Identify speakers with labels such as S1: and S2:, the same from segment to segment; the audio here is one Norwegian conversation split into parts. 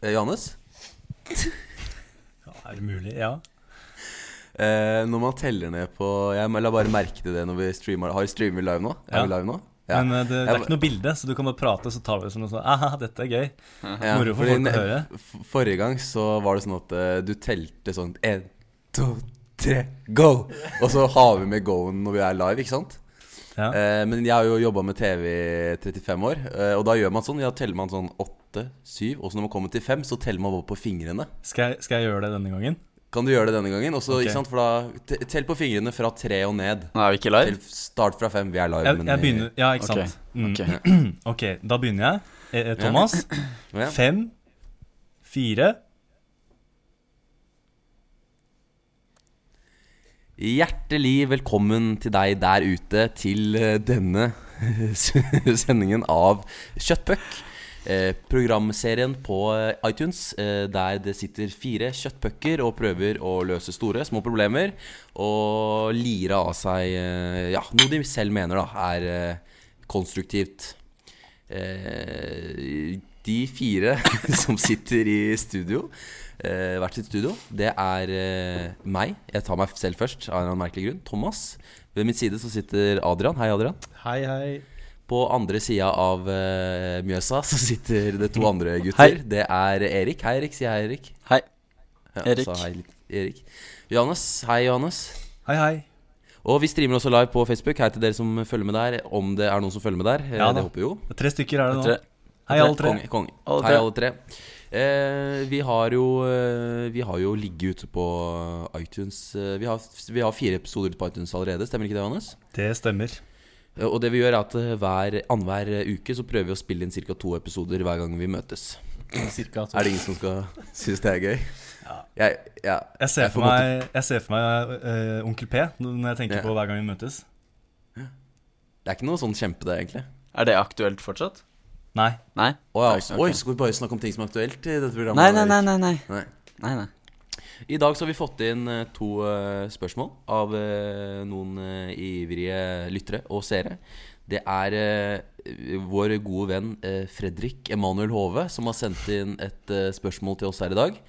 S1: Eh, Johannes,
S2: Ja, er det mulig? Ja.
S1: eh, når man teller ned på Jeg la bare merke til det når vi streamer. Har streamer live nå? Er
S2: Ja.
S1: vi live nå?
S2: Men eh, det, det
S1: Jeg-
S2: er ikke noe bilde, så du kan bare prate, så tar vi det som noe sånn Aha, dette er gøy.
S1: Ja,
S2: Moro for
S1: fordi
S2: folk å
S1: ne-
S2: høre.
S1: f- Forrige gang så var det sånn at eh, du telte sånn En, to, tre, go! Og så har vi med go-en når vi er live, ikke sant?
S2: Ja.
S1: Eh, men jeg har jo jobba med TV i 35 år, eh, og da gjør man sånn. Ja, teller man sånn åtte, syv, og så når man kommer til fem, så teller man over på fingrene.
S2: Skal, jeg, skal jeg gjøre det denne gangen?
S1: Kan du gjøre det denne gangen? Og så,
S2: Ok.
S1: ikke sant, for da te- Tell på fingrene fra tre og ned.
S3: Nå er vi ikke live?
S1: Til start fra fem. Vi er live,
S2: Jeg,
S1: men
S2: jeg
S1: eh,
S2: begynner. Ja, ikke
S3: Ok,
S2: sant. Mm.
S3: ok.
S2: ok, da begynner jeg. Eh, eh, Thomas.
S1: ja.
S2: Fem, fire
S1: Hjertelig velkommen til deg der ute til eh, denne sendingen av Kjøttpuck. Eh, programserien på eh, iTunes eh, der det sitter fire kjøttpucker og prøver å løse store, små problemer. Og lire av seg eh, ja, noe de selv mener da er eh, konstruktivt. Eh, de fire som sitter i studio, eh, hvert sitt studio, det er eh, meg. Jeg tar meg selv først, av en eller annen merkelig grunn. Thomas. Ved min side så sitter Adrian. Hei, Adrian.
S4: Hei, hei.
S1: På andre sida av eh, Mjøsa så sitter det to andre gutter.
S3: Hei.
S1: Det er Erik. Hei, Erik. Si hei, Erik.
S3: Hei.
S1: Ja,
S3: Erik.
S1: sa hei, litt. Erik. Johannes. Hei, Johannes.
S2: Hei, hei.
S1: Og vi streamer også live på Facebook. Hei til dere som følger med der. Om det er noen som følger med der. eh,
S2: Ja da.
S1: det håper vi jo.
S2: Det er Tre stykker er det nå.
S3: Tre.
S2: Hei, alle tre.
S1: Konge, konge.
S3: Alle
S1: Hei,
S3: tre.
S1: alle tre. Eh, vi har jo eh, Vi har jo ligget ute på iTunes eh, vi, har, vi har fire episoder ute på iTunes allerede, stemmer ikke det, Johannes?
S2: Det stemmer.
S1: Eh, Og det vi gjør, er at eh, hver annenhver eh, uke så prøver vi å spille inn ca. to episoder hver gang vi møtes.
S4: Cirka to.
S1: Er det ingen som skal synes det er gøy? Jeg, ja,
S2: Jeg ser
S1: Jeg
S2: for
S1: får måtte-
S2: meg, jeg ser for meg eh, Onkel P når jeg tenker
S1: Ja.
S2: på hver gang vi møtes.
S1: det er ikke noe sånn kjempe, det, egentlig.
S3: Er det aktuelt fortsatt?
S2: Nei.
S3: Nei?
S1: Å ja,
S3: Takk,
S1: så-
S3: ok.
S1: Oi, skal vi bare snakke om ting som er aktuelt i dette programmet?
S3: Nei, nei, nei,
S1: Erik?
S3: nei, nei.
S1: nei.
S3: nei, nei.
S1: I dag så har vi fått inn eh, to eh, spørsmål av eh, noen eh, ivrige lyttere og seere. Det er eh, vår gode venn eh, Fredrik Emanuel Hove som har sendt inn et eh, spørsmål til oss her i dag.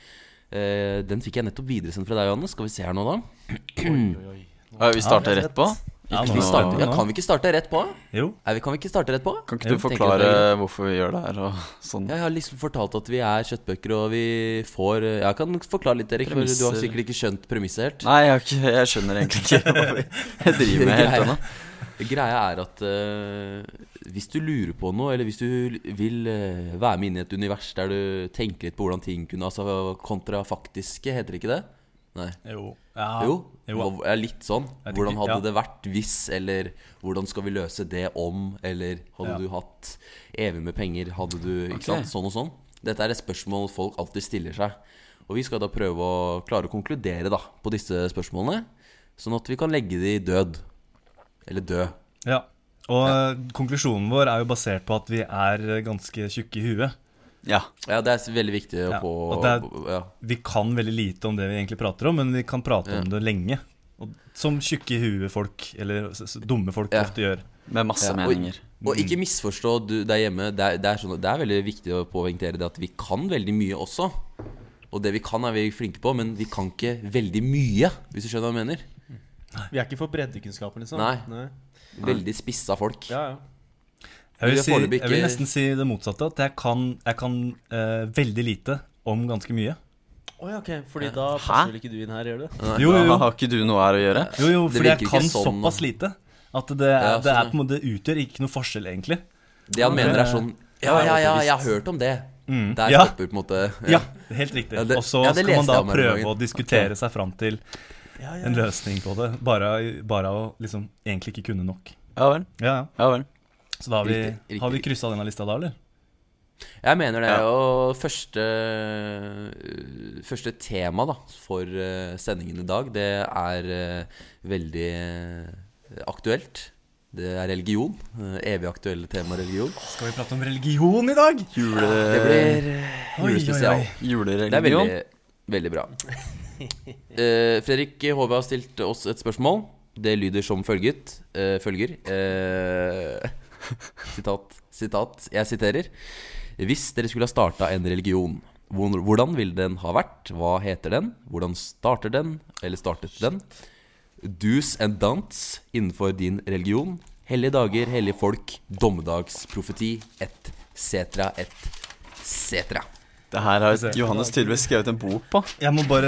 S1: Eh, den fikk jeg nettopp videresendt fra deg, Johannes. Skal vi se her nå, da?
S3: Oi, vi starter
S2: Ja,
S3: rett på?
S2: Ja,
S1: Kan
S2: nå-
S1: vi, starte, ja,
S2: nå-
S1: kan vi ikke starte rett på?
S2: Jo.
S1: Nei, vi kan vi ikke starte rett på?
S3: Kan ikke
S1: Jo,
S3: du
S1: tenker at det er greit.
S3: forklare hvorfor vi gjør det her og sånn?
S1: Jeg har liksom fortalt at vi er kjøttbøker, og vi får eh, Jeg kan forklare litt, Erik, for du har
S3: Premisser.
S1: sikkert ikke skjønt premisset helt.
S3: Nei, jeg, har ikke, jeg skjønner egentlig ikke hva vi jeg driver med helt
S1: Greia.
S3: ennå.
S1: Greia er at eh, hvis du lurer på noe, eller hvis du l- vil eh, være med inn i et univers der du tenker litt på hvordan ting kunne Altså kontrafaktiske, heter det ikke det? Nei.
S2: Jo. Ja.
S1: Jo,
S2: Jo.
S1: hva- er litt sånn.
S2: Jeg tenker-
S1: Hvordan hadde
S2: ja.
S1: det vært hvis, eller hvordan skal vi løse det om, eller hadde
S2: Ja.
S1: du hatt evig med penger, hadde du ikke
S3: Ok.
S1: sant, sånn og sånn. Dette er et spørsmål folk alltid stiller seg. Og vi skal da prøve å klare å konkludere da, på disse spørsmålene, sånn at vi kan legge de død. Eller dø.
S2: Ja. Og eh, konklusjonen vår er jo basert på at vi er eh, ganske tjukke i huet.
S3: Ja.
S1: Ja, det er veldig viktig å
S2: Ja,
S1: få
S2: og det
S1: ja.
S2: Vi kan veldig lite om det vi egentlig prater om, men vi kan prate om det lenge. Og, som tjukke i huet folk, eller s- s- dumme folk,
S1: Ja.
S2: ofte gjør.
S3: Med masse
S1: Ja, og-
S3: meninger.
S1: Og ikke misforstå du der hjemme. Det er, det, er sånn, det er veldig viktig å påvinktere det at vi kan veldig mye også. Og det vi kan, er vi flinke på, men vi kan ikke veldig mye, hvis du skjønner hva jeg mener.
S4: Vi er ikke for breddekunnskapen, liksom.
S1: Nei. Veldig spissa folk.
S4: Ja, ja.
S2: Jeg vil,
S1: Vi
S2: si,
S1: har foreløpig
S2: jeg vil
S1: ikke-
S2: nesten si det motsatte. At jeg kan, jeg kan eh, veldig lite om ganske mye.
S4: Å ja, ok. Fordi da
S3: Hæ?
S4: passer vel ikke du inn her, gjør du?
S2: Jo, jo,
S3: Da
S2: jo.
S3: har ikke du noe her å gjøre?
S2: jo, jo
S1: Det
S2: fordi jeg
S1: virker
S2: kan
S1: ikke sånn,
S2: såpass
S1: da.
S2: lite at det,
S1: Ja,
S2: det er
S1: sånn,
S2: på en måte Det utgjør ikke noe forskjell, egentlig.
S1: Det han mener, er sånn Ja, ja, ja, Mm. jeg har hørt om det. Der
S2: Ja.
S1: stopper på en måte
S2: Ja, helt riktig.
S1: Ja, det-
S2: Og så
S1: ja, det
S2: skal
S1: leste
S2: man da
S1: jeg om her om
S2: prøve
S1: dagen.
S2: å diskutere seg fram til
S4: Ja,
S2: en løsning på det. Bare, bare å liksom egentlig ikke kunne nok.
S3: Ja vel.
S2: Ja, ja.
S3: Ja vel.
S2: Så da har vi,
S1: Riktig, riktig,
S2: har vi
S1: riktig.
S2: kryssa denne lista da, eller?
S1: Jeg mener det.
S3: Ja.
S1: Og første, øh, første tema da, for øh, sendingen i dag, det er øh, veldig øh, aktuelt. Det er religion. øh, Evig aktuelle tema religion.
S2: Skal vi prate om religion i dag?
S3: Jule...
S1: Det blir
S2: Oi, oi,
S1: Eh, julespesial.
S2: oi.
S1: Det er
S3: Julereligion.
S1: veldig, veldig bra. Eh, Fredrik Håve har stilt oss et spørsmål. Det lyder som følget, eh, følger eh, Sitat. Sitat. Jeg siterer. Hvis dere skulle ha starta en religion, hvor- Hvordan ville den ha vært? Hva heter den? Hvordan starter den? Eller startet den? Do's and don'ts innenfor din religion. Hellige dager, hellige folk, dommedagsprofeti, etc., etc.
S3: Det her har
S2: ser.
S3: Johannes tydeligvis skrevet en bok på.
S2: Jeg må bare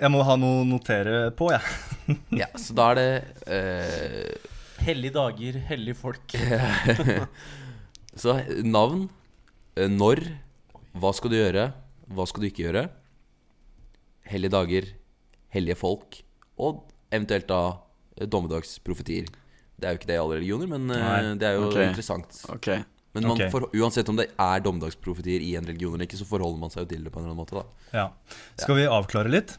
S2: Jeg må ha noe å notere på, jeg.
S1: Ja, så da er det eh,
S4: Hellige dager, hellige folk.
S1: Så navn, eh, når, hva skal du gjøre, hva skal du ikke gjøre? Hellige dager, hellige folk, og eventuelt da eh, dommedagsprofetier. Det er jo ikke det i alle religioner, men eh,
S2: Nei,
S1: det er jo
S3: ok.
S1: interessant.
S3: Ok.
S1: Men man
S2: Ok.
S1: for, uansett om det er dommedagsprofetier i en religion eller ikke, så forholder man seg jo til det på en eller annen måte, da.
S2: Ja. Skal vi avklare litt?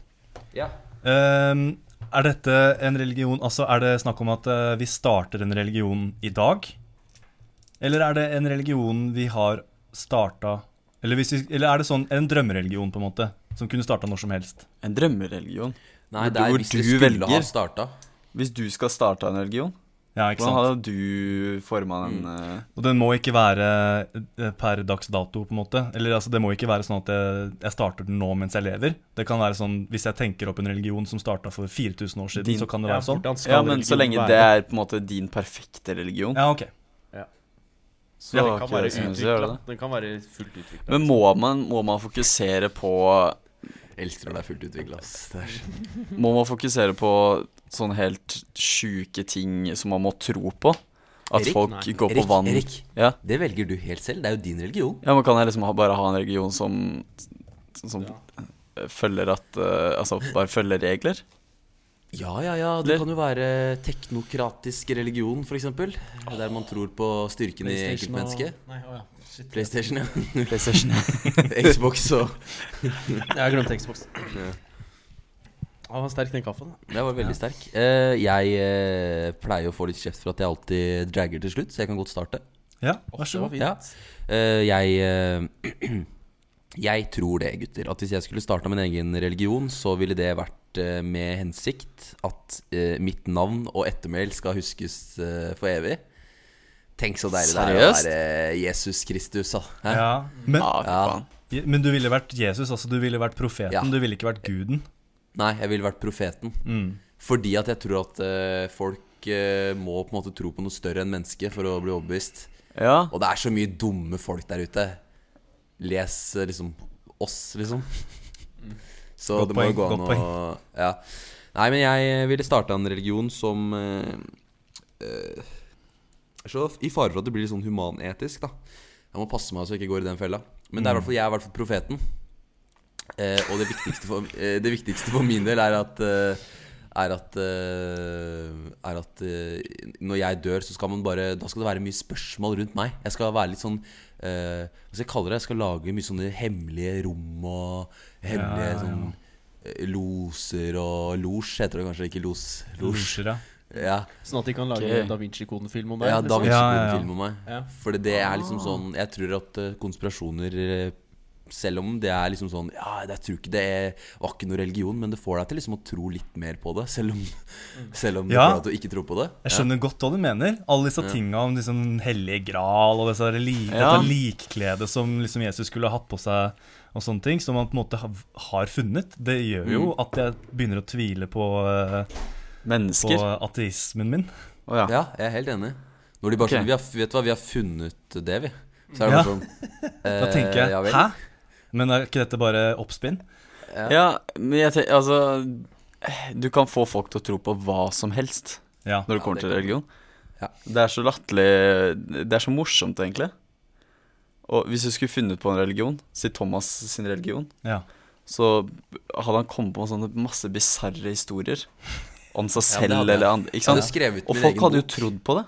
S1: Ja.
S2: Ehm, er dette en religion Altså, er det snakk om at eh, vi starter en religion i dag? Eller er det en religion vi har starta eller, hvis vi, eller er det sånn en drømmereligion, på en måte? Som kunne starta når som helst?
S3: En drømmereligion.
S1: Nei,
S3: Hvor
S1: det er
S3: du-
S1: hvis
S3: hvor
S1: det
S3: du
S1: skulle
S3: velger.
S1: ha starta.
S3: Hvis du skal starte en religion,
S2: Ja, ikke
S3: hvordan
S2: sant?
S3: hadde du forma den eh,
S2: Og den må ikke være eh, per dags dato, på en måte. Eller altså, det må ikke være sånn at jeg, jeg starter den nå mens jeg lever. Det kan være sånn, Hvis jeg tenker opp en religion som starta for 4000 år siden,
S3: Din-
S2: så kan det være sånn.
S4: hvordan skal
S3: Ja, men så
S4: religion
S3: lenge
S4: være?
S3: det er på en måte din perfekte religion,
S2: Ja, ok.
S3: så
S4: Ja,
S3: har
S4: den kan
S3: ikke
S4: være
S3: det så mye å gjøre
S4: utvikla.
S3: det.
S4: Den kan være fullt utvikla.
S3: Men må man, må man fokusere på
S1: Elsker når det er fullt utvikla, ass. Det er så-
S3: Må man fokusere på sånne helt sjuke ting som man må tro på? At
S1: Erik?
S3: folk
S4: Nei.
S3: går på
S1: Erik,
S3: vann
S1: Erik.
S3: Ja.
S1: Det velger du helt selv, det er jo din religion.
S3: Ja, man kan liksom ha, bare ha en religion som Som
S4: Ja.
S3: eh, følger at eh, Altså bare følger regler.
S1: Ja, ja, ja. Det
S3: Eller-
S1: kan jo være teknokratisk religion, f.eks. Der man tror på styrken i enkeltmennesket.
S4: Nei, å ja. Shit.
S1: PlayStation, ja.
S3: PlayStation.
S1: Xbox og
S4: Jeg har glemt Xbox. Han var sterk, den kaffen.
S1: Det var veldig sterk. Eh, jeg eh, pleier å få litt kjeft for at jeg alltid dragger til slutt, så jeg kan godt starte.
S2: Ja,
S4: Åh,
S2: vær så god.
S4: det
S1: Ja.
S4: var fint.
S1: Eh, jeg eh, Jeg tror det, gutter. At hvis jeg skulle starta min egen religion, så ville det vært eh, med hensikt at eh, mitt navn og ettermæl skal huskes eh, for evig. Tenk så deilig det er å
S3: Seriøst?
S1: være Jesus Kristus, da. Hæ?
S2: Ja. Men,
S3: Ja, Ah, fy
S1: Ja.
S3: faen.
S2: men du ville vært Jesus, altså. Du ville vært profeten.
S1: Ja.
S2: Du ville ikke vært guden.
S1: Nei, jeg ville vært profeten.
S2: Mm.
S1: Fordi at jeg tror at eh, folk eh, må på en måte tro på noe større enn menneske for å bli overbevist.
S3: Ja.
S1: Og det er så mye dumme folk der ute. Les eh, liksom oss, liksom. Så
S2: Mm. Godt
S1: det må
S2: poeng,
S1: jo gå an
S2: godt
S1: å ja. Nei, men jeg eh, ville starta en religion som eh, eh, er Så i fare for at det blir litt sånn humanetisk, da. Jeg må passe meg så jeg ikke går i den fella. Men det er i
S2: Mm.
S1: hvert fall, jeg er i hvert fall profeten. Eh, og det viktigste, for, eh, det viktigste for min del er at eh, er at, eh, er at eh, når jeg dør, så skal man bare Da skal det være mye spørsmål rundt meg. Jeg skal være litt sånn eh, Hva skal jeg kalle det? Jeg skal lage mye sånne hemmelige rom og hemmelige
S2: Ja, ja, ja.
S1: sånn eh, loser og Losj heter det kanskje, ikke los. Losj.
S2: Losjer, ja.
S1: Ja.
S4: Sånn at de kan lage
S3: Ok.
S4: en Da Vinci-koden-film om deg?
S1: Ja,
S4: liksom.
S1: da vil
S2: Ja,
S1: ikke
S2: ja, Ah. ja.
S1: film om meg.
S4: Ja.
S1: For det er liksom sånn Jeg tror at eh, konspirasjoner eh, Selv om det er liksom sånn Ja, jeg tror ikke det er, var ikke noe religion, men det får deg til liksom å tro litt mer på det. Selv om, selv om det
S2: Ja.
S1: får deg til å ikke tro på det.
S2: Jeg skjønner godt hva du mener. Alle disse tinga om liksom hellige gral og disse her li
S3: Ja.
S2: dette likkledet som liksom Jesus skulle ha hatt på seg, og sånne ting, som man på en måte ha- har funnet. Det gjør jo at jeg begynner å tvile på, eh, på
S3: Mennesker. Å
S2: ateismen min.
S3: ja.
S1: Ja, jeg er helt enig. Når de bare
S3: Ok.
S1: sånn vi har, Vet du hva, vi har funnet det, vi. Så er det
S2: Ja.
S1: bare sånn
S2: Da tenker jeg
S1: ja vel.
S2: hæ? Men er ikke dette bare oppspinn?
S3: ja, men jeg tenker Altså Du kan få folk til å tro på hva som helst
S2: Ja.
S3: når det
S1: Ja,
S3: kommer
S1: det
S3: til
S1: kan
S3: religion.
S1: Ja.
S3: Det er så latterlig Det er så morsomt, egentlig. Og hvis du skulle funnet på en religion, si Thomas sin religion,
S2: ja.
S3: så hadde han kommet på sånne masse bisarre historier om
S1: Ja,
S3: seg
S1: det
S3: selv
S1: hadde jeg.
S3: eller andre. Ikke
S1: Jeg hadde
S3: sant?
S1: skrevet
S3: Og
S1: min
S3: folk
S1: egen
S3: hadde jo
S1: bok.
S3: trodd på det.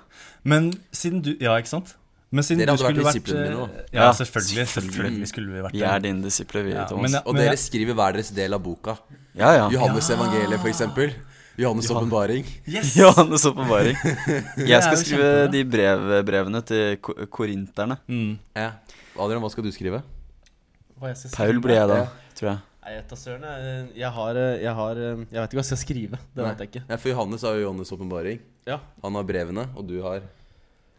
S2: Men siden du Ja, ikke sant? Men siden
S1: Dere hadde
S2: du skulle
S1: vært
S2: vært
S1: disiplene mine, da.
S2: eh, Ja,
S3: Ja,
S2: selvfølgelig.
S3: selvfølgelig.
S2: Selvfølgelig skulle vi vært
S3: Vi er dine disipler, vi,
S2: Ja,
S3: Thomas.
S2: men-
S1: Og
S2: jeg-
S1: dere skriver hver deres del av boka.
S3: ja, ja.
S1: Johannes evangeliet, for eksempel. Johannes åpenbaring.
S2: Yes!
S3: Johannes åpenbaring. Jeg skal
S2: jo
S3: skrive
S2: kjempebra.
S3: de brev, brevene til ko- korinterne.
S2: Mm.
S1: Ja. Adrian, hva skal du skrive?
S4: Liksom. Hva jeg skal
S3: Paul
S4: skrive?
S3: blir jeg da,
S1: Ja.
S3: tror jeg.
S4: Nei, jeg tar søren. Jeg, jeg har eh, Jeg har eh, Jeg vet ikke hva jeg skal skrive.
S1: Nei.
S4: Det vet jeg ikke.
S1: Ja, for Johannes har jo Johannes' åpenbaring.
S4: Ja.
S1: Han har brevene, og du har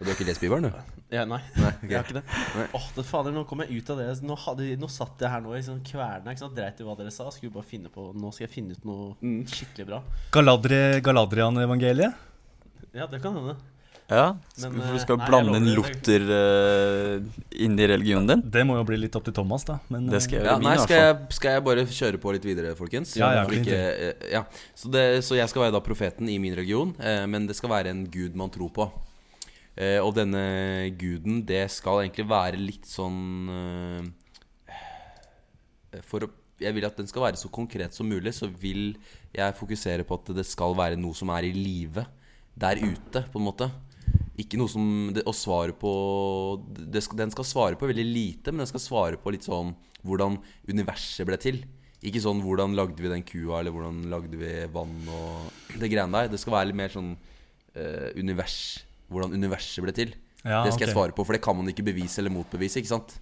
S1: Og du har ikke lest Bibelen, du?
S4: Ja, nei,
S1: Nei, ok.
S4: jeg har ikke det.
S1: Nei.
S4: Åh, det fader, Nå kom jeg ut av det. Nå, hadde, nå satt jeg her nå i sånn kverna. ikke sant? Dreit i hva dere sa. Skulle bare finne på Nå skal jeg finne ut noe
S1: Mm.
S4: skikkelig bra.
S2: Galadri, Galadrian-evangeliet?
S4: Ja, det kan hende.
S3: Ja,
S4: Men,
S3: for
S4: eh,
S3: du skal
S4: nei, jeg
S3: blande
S4: lover
S3: inn
S4: det.
S3: Luther uh, inn i religionen din?
S2: Det må jo bli litt opp til Thomas, da. Men
S3: Det skal jeg
S1: Ja,
S3: gjøre min,
S1: nei,
S3: altså. i
S1: skal
S3: hvert fall.
S1: jeg, skal jeg bare kjøre på litt videre, folkens?
S2: Ja, ja,
S1: For
S2: klin
S1: ikke, eh, ja. Så, det, så jeg skal være da profeten i min religion, eh, men det skal være en gud man tror på. Eh, og denne guden, det skal egentlig være litt sånn eh, For å jeg vil at den skal være så konkret som mulig, så vil jeg fokusere på at det skal være noe som er i live der ute, på en måte. Ikke noe som det, å svare på det skal, Den skal svare på veldig lite, men den skal svare på litt sånn hvordan universet ble til. Ikke sånn 'hvordan lagde vi den kua', eller 'hvordan lagde vi vann' og det greiene der. Det skal være litt mer sånn eh, univers Hvordan universet ble til.
S2: Ja,
S1: det skal jeg
S2: ok.
S1: svare på, for det kan man ikke bevise eller motbevise, ikke sant?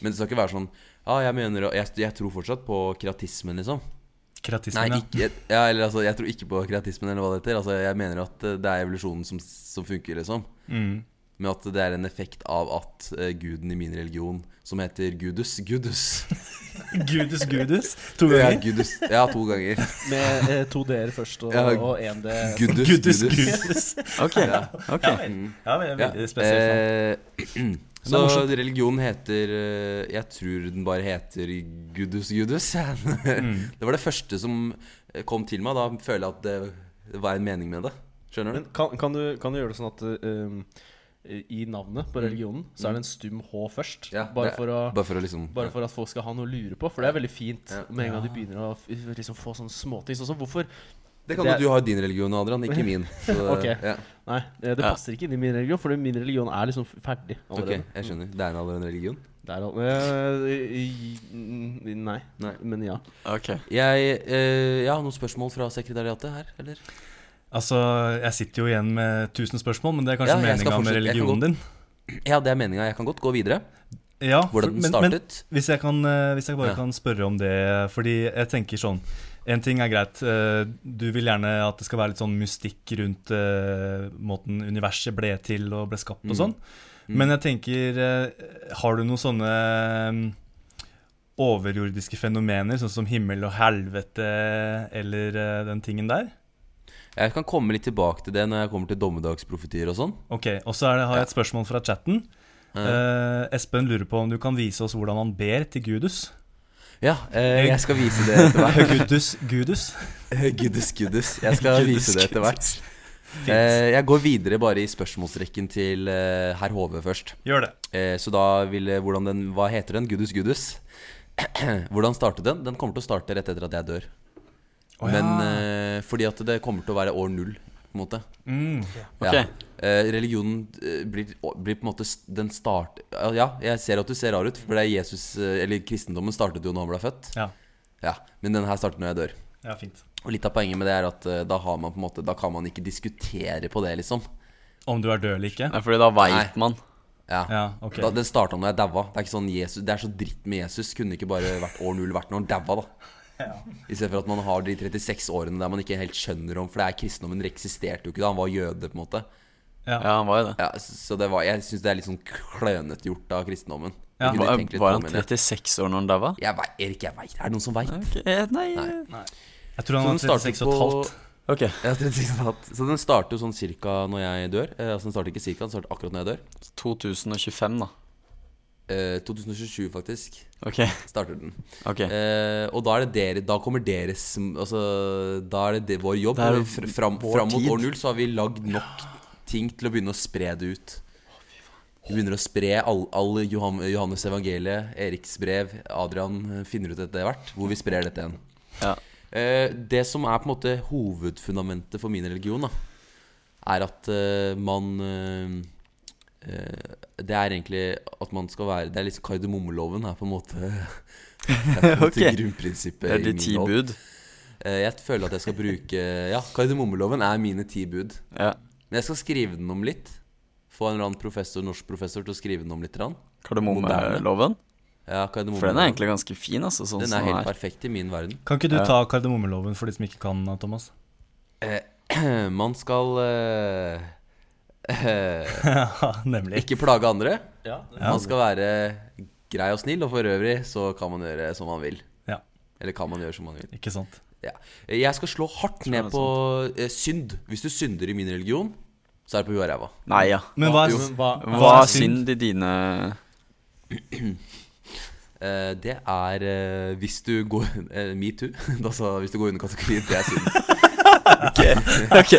S1: Men det skal ikke være sånn Ja, jeg mener Jeg, jeg tror fortsatt på kreatismen, liksom. Nei,
S2: Kreatismen,
S1: ikke, ja, eller, altså, jeg tror ikke på kreatismen, eller hva det heter. Altså, jeg mener at eh, det er evolusjonen som, som funker, liksom.
S2: ja. Mm.
S1: Men at det er en effekt av at eh, guden i min religion, som heter Gudus Gudus.
S2: Gudus, gudus. To
S1: Ja,
S2: ganger.
S1: Gudus. Ja, to ganger.
S4: Med eh, to d-er først og
S1: Ja.
S4: én d.
S1: Gudus
S2: Gudus,
S1: Gudus.
S2: gudus.
S3: Ok,
S1: Ja. Mm.
S3: ok.
S2: Ja, vel. ja, vel,
S1: Ja,
S2: veldig spesielt.
S1: eh,
S2: Det er
S1: så
S2: morsomt.
S1: religionen heter eh, Jeg tror den bare heter Gudus Gudus.
S2: Mm.
S1: det var det første som eh, kom til meg. Da føler jeg at det var en mening med det. Skjønner du?
S4: Men kan, kan, du, kan du gjøre det sånn at eh, i navnet på religionen så er det en stum H først?
S1: Mm. Ja,
S4: bare
S1: det-
S4: for å
S1: Bare for å liksom
S4: Bare for at folk skal ha noe å lure på, for det er veldig fint
S1: Ja.
S4: med en gang de begynner å f- liksom få sånne småting. Sånn som hvorfor
S1: Det kan
S4: det
S1: jo du
S4: er-
S1: ha i din religion, Adrian, ikke min. Så,
S4: Ok.
S1: ja.
S4: Nei, eh, det
S3: Ja.
S4: passer ikke inn i min religion, for min religion er liksom f- ferdig
S1: Ok,
S4: allerede.
S1: jeg skjønner. Det er en allerede religion.
S4: Det er all- eh, i- i- Nei.
S1: Nei.
S4: Men ja.
S3: ok
S1: Jeg, eh, jeg har noen spørsmål fra sekretariatet her, eller?
S2: Altså, jeg sitter jo igjen med tusen spørsmål, men det er kanskje
S1: Ja, jeg skal
S2: meninga med
S1: fortsette. Jeg kan
S2: religionen din.
S1: Ja, det er meninga. Jeg kan godt gå videre.
S2: Ja, for-
S1: Hvordan den
S2: men- men-
S1: startet.
S2: Hvis jeg, kan, eh, hvis jeg bare
S1: Ja.
S2: kan spørre om det, fordi jeg tenker sånn En ting er greit, eh, du vil gjerne at det skal være litt sånn mystikk rundt eh, måten universet ble til og ble skapt og sånn. Men jeg tenker, eh, har du noen sånne mm, overjordiske fenomener, sånn som himmel og helvete eller eh, den tingen der?
S1: Jeg kan komme litt tilbake til det når jeg kommer til dommedagsprofetier og sånn.
S2: Ok, og så er det, har jeg et spørsmål fra chatten. Eh, Espen lurer på om du kan vise oss hvordan han ber til Gudus.
S1: Ja, eh, jeg skal vise det etter hvert.
S2: Gudus, Gudus.
S1: Guddes, guddes. Jeg skal vise det etter hvert. Eh, jeg går videre bare i spørsmålsrekken til eh, herr Hove først.
S2: Gjør det.
S1: Eh, så da vil eh, hvordan den Hva heter den? Guddes, guddes. hvordan startet den? Den kommer til å starte rett etter at jeg dør.
S2: Å, ja.
S1: Men eh, fordi at det kommer til å være år null, på en måte.
S2: Mm.
S3: Ok.
S1: Eh, religionen eh, blir, blir på en måte s- Den start... Ja, jeg ser at du ser rar ut, for det er Jesus eh, Eller kristendommen startet jo når han ble født.
S2: Ja.
S1: Ja, Men den her starter når jeg dør.
S2: ja, fint.
S1: Og litt av poenget med det er at eh, da, har man på en måte, da kan man ikke diskutere på det, liksom.
S2: Om du er død eller ikke?
S3: Nei, fordi da
S1: Nei.
S3: veit man.
S1: Ja,
S2: Ja, ok.
S1: da, Den starta når jeg daua. Det er ikke sånn Jesus, det er så dritt med Jesus. Kunne ikke bare vært år null vært når han daua, da. I stedet for at man har de 36 årene der man ikke helt skjønner om For det er kristendommen det eksisterte jo ikke da. Han var jøde, på en måte.
S3: Ja, han var jo det.
S1: Ja, så så det var, jeg syns det er litt sånn klønete gjort av kristendommen.
S2: Ja.
S1: Jeg kunne
S3: Var,
S1: tenkt litt
S3: var
S1: på
S3: han
S1: det, men jeg-
S3: 36 år når han daua?
S1: Jeg veit Erik, jeg vet. Er det noen som veit?
S3: Ok, eh, Nei
S2: Jeg tror
S1: Så
S2: han var
S1: den startet
S2: 36 og et
S1: på-
S2: halvt.
S3: Ok,
S1: Ja, 36 og et halvt. Så den starter jo sånn cirka når jeg dør. Eh, altså den starter ikke cirka, den starter akkurat når jeg dør.
S3: 2025, da.
S1: Eh, 2027, faktisk,
S3: Ok.
S1: starter den.
S3: ok
S1: Eh, og da er det dere Da kommer deres Altså, da er det, det vår jobb.
S3: Det er
S1: Og fr- fram,
S3: vår
S1: fram mot
S3: tid.
S1: år null så har vi lagd nok ting til å begynne å spre det ut. Vi begynner å spre all, all Johan, Johannes evangeliet, Eriks brev, Adrian eh, finner ut etter hvert hvor vi sprer dette igjen.
S3: Ja.
S1: Eh, det som er på en måte hovedfundamentet for min religion, da, er at eh, man eh, eh, Det er egentlig at man skal være Det er liksom kardemommeloven er på en måte Det er på en måte
S3: Ok.
S1: grunnprinsippet.
S3: Det er
S1: i
S3: de
S1: min
S3: ti
S1: lov.
S3: bud.
S1: Eh, jeg føler at jeg skal bruke Ja, kardemommeloven er mine ti bud.
S3: Ja.
S1: Men jeg skal skrive den om litt. Få en eller annen professor, norsk professor til å skrive den om litt. grann.
S3: Kardemommeloven.
S1: Ja,
S3: For den er
S1: kardemommeloven.
S3: egentlig ganske fin, altså. Sånn
S1: Den
S3: som
S1: er helt
S3: den er.
S1: perfekt i min verden.
S2: Kan ikke du
S3: Ja.
S2: ta
S1: Eh,
S2: kardemommeloven for de som ikke kan, Thomas?
S1: Man skal eh, eh,
S2: Nemlig.
S1: ikke plage andre.
S4: Ja,
S1: Man skal være grei og snill, og for øvrig så kan man gjøre som man vil.
S2: Ja,
S1: Eller kan man gjøre som man vil.
S2: ikke sant.
S1: Ja. Jeg skal slå hardt ned på eh, synd. Hvis du synder i min religion, så er det på huet og ræva.
S3: Nei, ja.
S2: Men hva er,
S4: men hva,
S3: Hva er synd i dine
S1: Eh, Det er eh, hvis du går eh, Metoo. Altså hvis du går under kategorien, det er synd.
S3: Ok.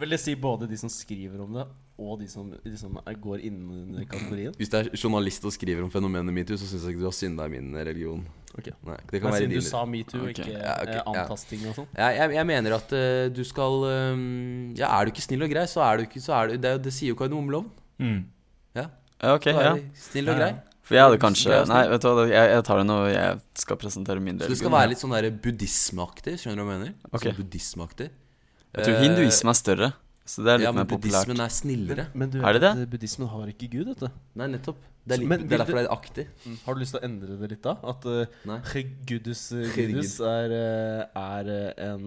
S4: Vil det si både de som skriver om det, og de som, de som er- går innen kategorien?
S1: Hvis du er journalist og skriver om fenomenet metoo, så syns jeg ikke du har synda i min religion.
S4: Ok.
S1: Nei, det kan
S4: Men
S1: være
S4: siden
S1: din.
S4: du sa metoo,
S3: Ok,
S4: ikke
S1: ja, ok,
S4: eh,
S1: ja.
S4: antasting og sånn.
S1: jeg, jeg, jeg mener at eh, du skal eh, Ja, er du ikke snill og grei, så er du ikke så er du, det, er jo- det sier jo kardemommeloven.
S2: Mm.
S1: Ja,
S3: Ja, ok,
S1: så er
S3: ja.
S1: du snill og
S2: Ja, ja.
S1: grei.
S3: For jeg hadde kanskje
S1: Det er
S3: Nei, vet du hva, jeg, jeg tar det når jeg skal presentere
S1: Så
S3: min
S1: du
S3: religion.
S1: skal være litt sånn der buddhismeaktig, skjønner du hva jeg mener?
S3: Ok.
S1: Sånn buddhismeaktig.
S3: Jeg tror hinduisme er større, så det er
S1: eh,
S3: litt
S1: Ja, men
S3: mer populært.
S1: buddhismen er snillere.
S4: Men du
S3: Er det
S4: vet at eh, buddhismen har ikke Gud, vet du.
S1: Nei, nettopp. Det er, litt,
S4: Men
S1: det er
S4: vil du-
S1: derfor det er aktig.
S4: Har du lyst til å endre det litt, da? At eh,
S1: Nei.
S4: Gudus
S1: Herregud.
S4: Gudus er, eh, er eh, en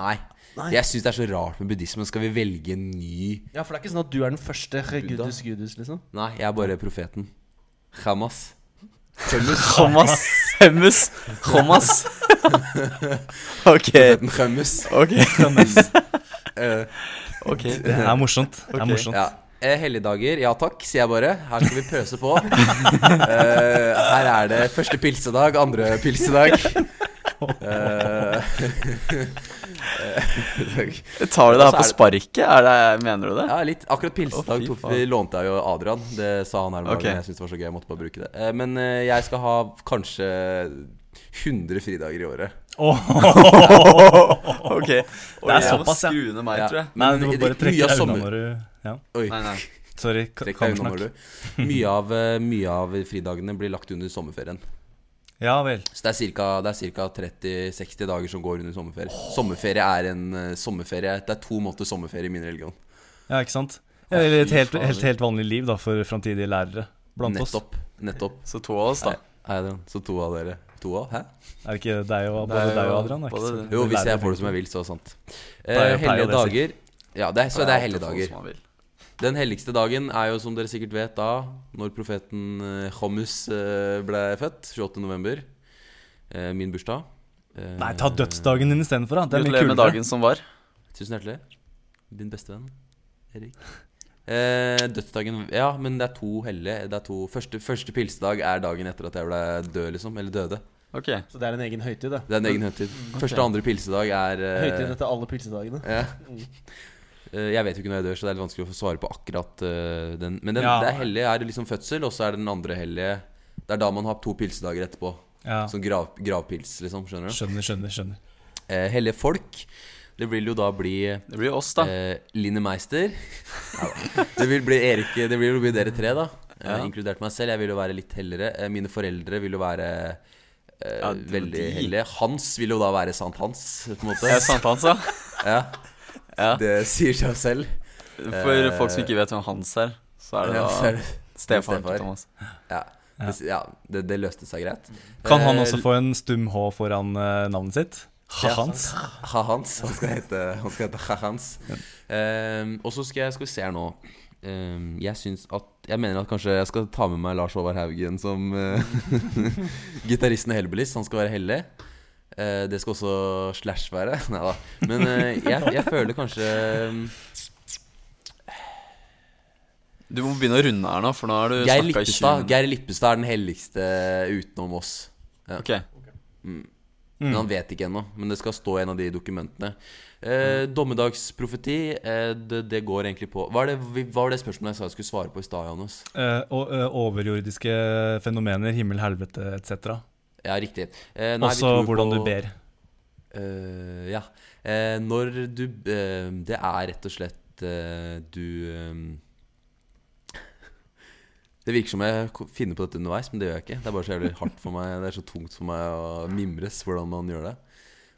S1: Nei.
S4: Nei.
S1: Jeg syns det er så rart med buddhismen. Skal vi velge en ny
S4: Ja, for det er ikke sånn at du er den første Gudus Gudus, liksom.
S1: Nei, jeg er bare profeten. Hamas. Hamas.
S3: Hamas. Hemmus. Hamas. Ok.
S1: Profeten Hamas.
S3: Ok.
S1: Eh,
S3: Ok.
S2: Det er morsomt. Det er
S3: Ok.
S2: morsomt.
S1: Ja. Eh, Helligdager, ja takk, sier jeg bare. Her skal vi pøse på. Eh, her er det første pilsedag, andre pilsedag. Eh, eh,
S3: Jeg Tar du det her
S1: Og
S3: på
S1: så
S3: sparket? Er det, mener du det?
S1: ja, litt. Akkurat
S3: Å,
S1: pilsedag
S3: fy
S1: tok
S3: faen.
S1: vi, lånte jeg jo Adrian. Det sa han her om dagen.
S3: Ok.
S1: Jeg syntes det var så gøy. Jeg måtte bare bruke det. Eh, men eh, jeg skal ha kanskje 100 fridager i året.
S2: Åh.
S3: Ok. Oi,
S2: Det er
S3: jeg må
S2: såpass, ja.
S3: skru ned meg,
S1: Ja.
S3: tror jeg.
S2: Nei,
S1: Men
S2: du må
S1: det-
S2: bare trekke
S1: mye av
S2: deg unna
S1: sommer-
S2: når du Ja,
S1: Oi.
S3: Nei, nei.
S2: sorry. ka-
S1: Trekk deg unna,
S2: kammersnakk.
S1: Malu. Mye av, eh, mye av fridagene blir lagt under sommerferien.
S2: Ja vel.
S1: Så det er ca. 30-60 dager som går under sommerferie. Sommerferie er en eh, sommerferie Det er to måneder sommerferie i min religion.
S2: Ja, ikke sant? Ja, Eller et
S3: fy
S2: helt,
S3: fader.
S2: helt, helt vanlig liv da for framtidige lærere blant oss.
S1: nettopp. Nettopp.
S3: Så to av oss, da.
S1: Nei, Adrian, så to av dere. To av? Hæ?
S2: Er det ikke deg og,
S3: Det er
S2: både
S3: jo
S2: deg og Adrian? er ikke
S3: både-
S2: så-
S1: Jo, hvis
S2: lærere
S1: jeg får det som
S2: begge
S1: jeg vil, så er det sant. Eh,
S2: Pleier- pleier
S1: hellige
S2: å det,
S1: dager Ja, det er, så det er hellige dager.
S3: Sånn man vil.
S1: Den helligste dagen er jo, som dere sikkert vet, da når profeten eh, Hommus eh, ble født. 28. november. Eh, min bursdag. Eh,
S2: to. Nei, ta dødsdagen din istedenfor, da. Det er mye
S3: Gratulerer med
S2: kulere.
S3: dagen som var.
S1: Tusen hjertelig. Din beste venn Erik. Eh, dødsdagen Ja, men det er to hellige. Det er to Første, første pilsedag er dagen etter at jeg ble død, liksom. Eller døde.
S3: Ok.
S4: Så det er en egen høytid, det.
S1: Det er en
S2: Mm.
S1: egen høytid. Første og andre pilsedag er eh,
S4: Høytid etter alle pilsedagene.
S1: ja. Eh, Jeg vet jo ikke når jeg dør, så det er litt vanskelig å få svare på akkurat eh, den. Men den,
S2: Ja.
S1: det er hellige er liksom fødsel, og så er det den andre hellige Det er da man har to pilsedager etterpå.
S2: Ja.
S1: Sånn grav, gravpils, liksom. Skjønner du?
S2: Skjønner, skjønner, skjønner.
S1: Eh, hellige folk. Det vil jo da bli
S3: Det blir oss, da.
S1: Eh, Line Meister. det vil bli Erik Det vil jo bli dere tre, da. Eh,
S3: Ja.
S1: Inkludert meg selv. Jeg vil jo være litt hellere. Eh, mine foreldre vil jo være eh,
S3: Ja, det var
S1: veldig
S3: de.
S1: hellige. Hans vil jo da være Sant Hans, på en
S3: Jeg
S1: måte.
S3: er sant hans, ja.
S1: ja.
S3: Ja.
S1: Det sier seg selv.
S3: For
S1: Eh,
S3: folk som ikke vet hvem Hans er, så er det
S1: Ja, så
S3: da
S1: er det-
S3: stefaren
S1: stefar.
S3: til Thomas.
S1: ja. Det, ja, det, det løste seg greit.
S2: Kan han også
S1: Eh,
S2: få en stum H foran eh, navnet sitt?
S1: Ja.
S2: Hans?
S1: Ha-Hans. Han skal hete Han skal hete Ha-Hans. Ehm, og så skal jeg Skal vi se her nå. Ehm, jeg syns at Jeg mener at kanskje jeg skal ta med meg Lars Håvard Haugen som eh, gitaristen i Hellbillies. Han skal være hellig. Eh, det skal også Slash være. Nei da. Men eh, jeg, jeg føler kanskje ehm,
S3: Du må begynne å runde her nå, for nå har du
S1: Geir
S3: snakka i 20
S1: Lippestad
S3: minutter.
S1: Geir Lippestad er den helligste utenom oss.
S3: Ok.
S2: Mm.
S1: Men han vet ikke ennå. Men det skal stå i en av de dokumentene. Eh,
S2: Mm.
S1: dommedagsprofeti, eh, det, det går egentlig på Hva, er det, vi- hva var det spørsmålet jeg sa jeg skulle svare på i stad, Johannes?
S2: Eh, og eh, overjordiske fenomener, himmel, helvete etc.
S1: Ja, riktig. Eh, nei, vi
S2: Også
S1: tror
S2: hvordan
S1: på-
S2: du ber.
S1: Eh, ja. Eh, når du eh, Det er rett og slett eh, du eh, Det virker som jeg ko- finner på dette underveis, men det gjør jeg ikke. Det er bare så jævlig hardt for meg. Det er så tungt for meg å mimres hvordan man gjør det.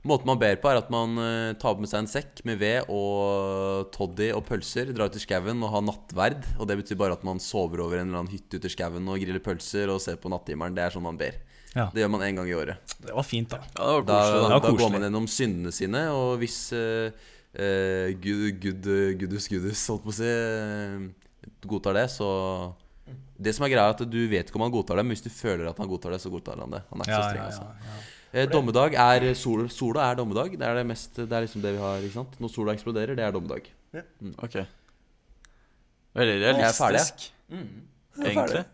S1: Måten man ber på, er at man eh, tar med seg en sekk med ved og toddy og pølser, drar ut i skauen og har nattverd. Og det betyr bare at man sover over en eller annen hytte ute i skauen og griller pølser og ser på natthimelen. Det er sånn man ber.
S2: Ja.
S1: Det gjør man én gang i året.
S2: Det var fint, da.
S3: Ja, det var
S1: Da,
S3: koselig, da.
S1: da
S2: Det var
S1: går
S2: koselig.
S1: man gjennom syndene sine, og hvis eh, eh, gud, gud, gudus, gudus, holdt på å si, eh, godtar det, så Det som er greia, er at du vet ikke om han godtar det, men hvis du føler at han godtar det, så godtar han det. Han er ikke
S2: Ja,
S1: så streng,
S2: ja,
S1: altså.
S2: ja, ja.
S1: Eh, dommedag er sol, Sola er dommedag. Det er det mest Det er liksom det vi har, ikke sant. Når sola eksploderer, det er dommedag.
S3: Ok. Veldig
S1: er
S3: realistisk,
S1: Mm.
S3: egentlig.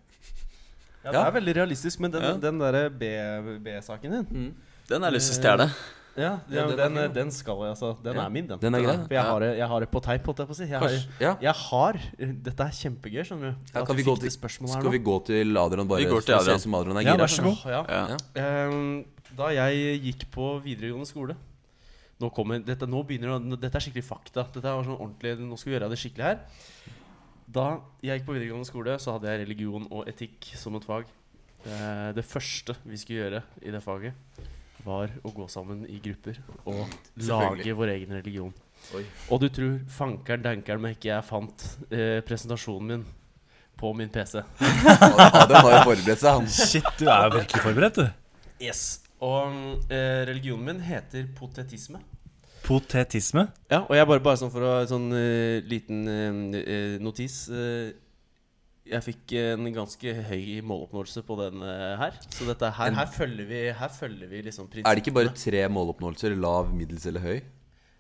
S4: Ja, det
S1: Ja.
S4: er veldig realistisk, men den,
S3: Ja.
S4: den derre B- B-saken din
S3: Den har jeg lyst til å stjele.
S4: Ja,
S1: Ja, den er
S4: den,
S1: fin, da.
S4: den skal jeg, altså. Den
S1: Ja,
S4: er min, den.
S1: den er grei, da.
S4: For jeg har, det- jeg har det på teip, holdt jeg på å si. Jeg har,
S1: Kanskje- ja.
S4: jeg har Dette er kjempegøy, skjønner du.
S1: Ja,
S4: At
S1: kan
S4: vi
S1: vi gå
S4: fikk
S1: til-
S4: det spørsmålet her
S1: Skal
S4: nå.
S1: vi gå til Adrian bare
S3: Vi går til
S1: så ser
S3: Adrian.
S1: ut som Adrian er
S2: Ja,
S1: gira?
S2: vær så god.
S4: Ja.
S3: Eh, Ja.
S1: Ja.
S4: Ehm, da jeg gikk på videregående skole Nå kommer Dette, nå begynner, det å- dette er skikkelig fakta. Dette var sånn ordentlig Nå skal vi gjøre det skikkelig her. Da jeg gikk på videregående skole, så hadde jeg religion og etikk som et fag. Eh, Det første vi skulle gjøre i det faget, var å gå sammen i grupper og
S1: Selvfølgelig.
S4: lage vår egen religion.
S1: Oi.
S4: Og du tror fankeren dankeren meg ikke jeg fant eh, presentasjonen min på min PC.
S1: Adrian har jo forberedt seg, han.
S2: Shit, du er jo virkelig forberedt, du.
S4: Yes. Og eh, religionen min heter potetisme.
S2: Potetisme.
S4: Ja, og jeg bare, bare sånn for å sånn eh, liten eh, eh, notis eh, Jeg fikk en ganske høy måloppnåelse på den eh, her. Så dette her, her følger vi, her følger vi liksom prinsippene.
S1: Er det ikke bare tre måloppnåelser? Lav, middels eller høy?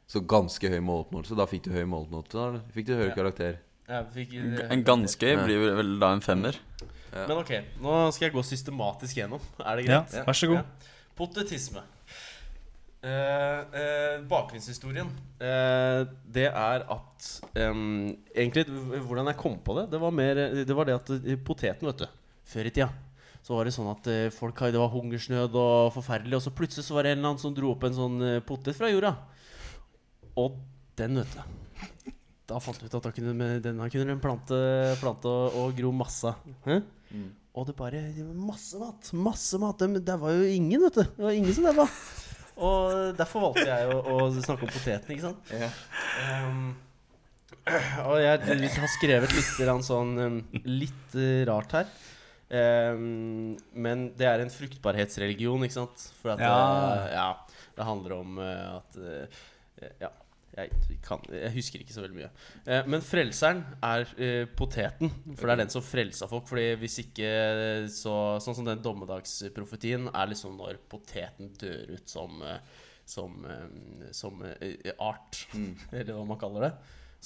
S1: Så ganske høy måloppnåelse. Da fikk du høy måloppnåelse. Da fikk du høyere
S4: Ja.
S1: karakter.
S4: Jeg fikk,
S3: G-
S4: eh,
S3: En ganske blir vel- vel da en femmer.
S4: Men ok, nå skal jeg gå systematisk gjennom. Er det
S2: Ja, vær
S4: greit?
S2: så god.
S4: Ja. Potetisme. Eh, eh, bakgrunnshistorien eh, Det er at em, Egentlig, h- hvordan jeg kom på det, det var, mer, det var det at eh, poteten, vet du Før i tida så var det sånn at eh, folk, hadde- det var hungersnød og forferdelig, og så plutselig så var det en eller annen som dro opp en sånn eh, potet fra jorda. Og den, vet du. Da fant vi ut at da kunne, med- den her kunne de plante, plante og, og gro masse. Hæ? Og det bare det var Masse mat! Masse mat! Det, det var jo ingen, vet du. Det var ingen som daua. Og derfor valgte jeg å, å snakke om poteten, ikke sant? Ehm, og jeg, har skrevet litt grann sånn um, litt eh, rart her. Ehm, men det er en fruktbarhetsreligion, ikke sant? For at
S2: Ja.
S4: Det, ja, det handler om eh, at eh, Ja, jeg, kan, jeg husker ikke så veldig mye. Eh, men frelseren er eh, poteten, for det er den som frelsa folk. Fordi hvis ikke eh, så, Sånn som den dommedagsprofetien er liksom når poteten dør ut som eh, som, eh, som eh, art, eller hva man kaller det,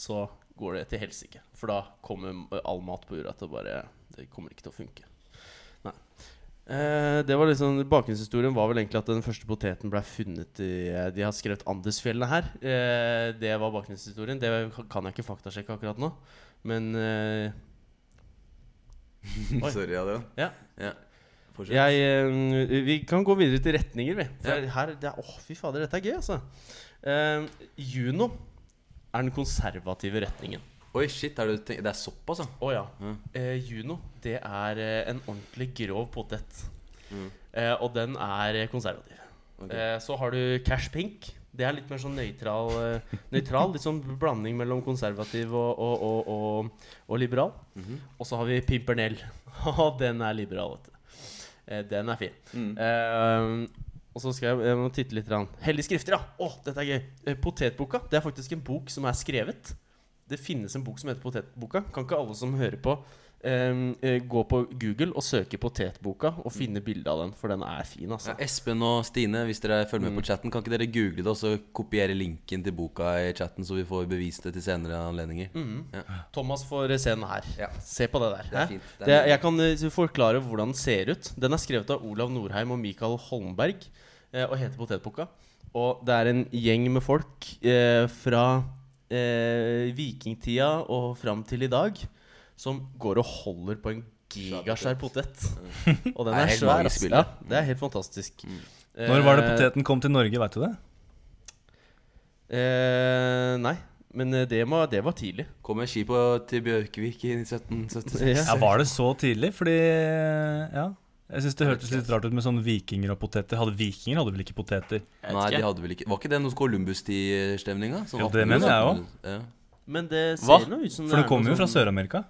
S4: så går det til helsike. For da kommer all mat på jorda til å bare Det kommer ikke til å funke. Nei. Eh, det var liksom Bakgrunnshistorien var vel egentlig at den første poteten ble funnet i eh, De har skrevet Andesfjellene her. Eh, det var bakgrunnshistorien. Det kan jeg ikke faktasjekke akkurat nå, men eh, Oi.
S1: Sorry, Adrian.
S4: Ja.
S1: Fortsett.
S4: Jeg, eh, vi kan gå videre til retninger, vi. For her, det er, åh, fy fader, dette er gøy, altså. Eh, Juno er den konservative retningen.
S1: Oi, shit. Er det, tenk- det er såpass, ja.
S4: Å ja.
S1: Mm.
S4: Eh, Juno, det er eh, en ordentlig grov potet.
S1: Mm.
S4: Eh, og den er konservativ.
S1: Ok.
S4: Eh, så har du Cash Pink. Det er litt mer sånn nøytral. Eh, nøytral litt sånn blanding mellom konservativ og, og, og, og, og liberal. Og så har vi Pimpernell. Og den er liberal, vet du. Eh, den er fin. Eh, og så skal jeg, jeg må titte litt. grann. Hellige skrifter, ja! Å, dette er gøy. Eh, Potetboka det er faktisk en bok som er skrevet. Det finnes en bok som heter Potetboka. Kan ikke alle som hører på, eh, eh, gå på Google og søke Potetboka og finne bilde av den, for den er fin, altså.
S1: Ja, Espen og Stine, hvis dere følger med på chatten, kan ikke dere google det og så kopiere linken til boka i chatten, så vi får bevist det til senere anledninger?
S4: Thomas får se den her.
S1: Ja.
S4: Se på det der.
S1: Det er
S4: hæ?
S1: fint. Det er
S4: Det,
S1: nydelig.
S4: jeg kan eh, forklare hvordan den ser ut. Den er skrevet av Olav Norheim og Mikael Holmberg eh, og heter Potetpukka. Og det er en gjeng med folk eh, fra eh, vikingtida og fram til i dag som går og holder på en gigasvær potet. Og
S1: Det
S4: den
S1: er
S4: er,
S1: helt
S4: svær.
S1: magisk
S4: ass.
S1: bilde. Mm.
S4: Ja, det er helt fantastisk.
S2: Når var det
S4: Eh,
S2: poteten kom til Norge, veit du det?
S4: Eh, nei, men eh, det, må, det var tidlig.
S1: Kom med skipet til Bjørkvik i 1776.
S4: Ja.
S2: Ja, Var det så tidlig? Fordi ja. Jeg syns det hørtes litt rart ut med sånn vikinger og poteter. Hadde Vikinger hadde vel ikke poteter?
S3: Jeg
S1: Nei,
S3: vet
S1: de
S3: ikke.
S1: hadde vel ikke Var ikke det noe Columbus-stemninga?
S2: Jo, det mener jeg også.
S1: Ja.
S4: Men det
S3: Hva?
S4: ser nå ut som
S2: For det
S4: er
S2: kommer
S4: noe
S2: jo fra
S4: sånn-
S2: Sør-Amerika.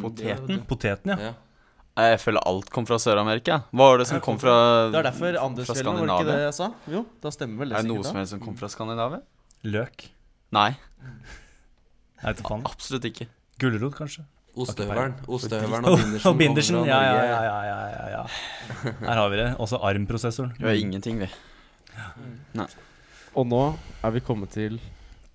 S3: Poteten?
S2: Mm, Poteten, ja.
S1: Ja.
S3: Nei, Jeg føler alt kom fra Sør-Amerika. Hva var det som kom fra
S4: Det er derfor
S3: fra
S4: Andesfjellene, var det ikke
S3: Skandinavia?
S4: det jeg sa? Jo, da stemmer vel
S3: Er
S4: det
S3: det noe
S4: sikkert.
S3: som
S4: da.
S3: helst som kom fra Skandinavia?
S2: Løk.
S3: Nei,
S2: Jeg vet ikke faen.
S3: absolutt ikke.
S2: Gulrot, kanskje?
S1: Ostehøvelen ostehøvelen og bindersen.
S2: Og bindersen.
S1: kommer
S2: Ja,
S1: fra
S2: ja,
S1: Norge.
S2: ja. ja, ja, ja, ja. Her har vi det. Også armprosessoren.
S3: Vi har ingenting, vi.
S4: Og nå er vi kommet til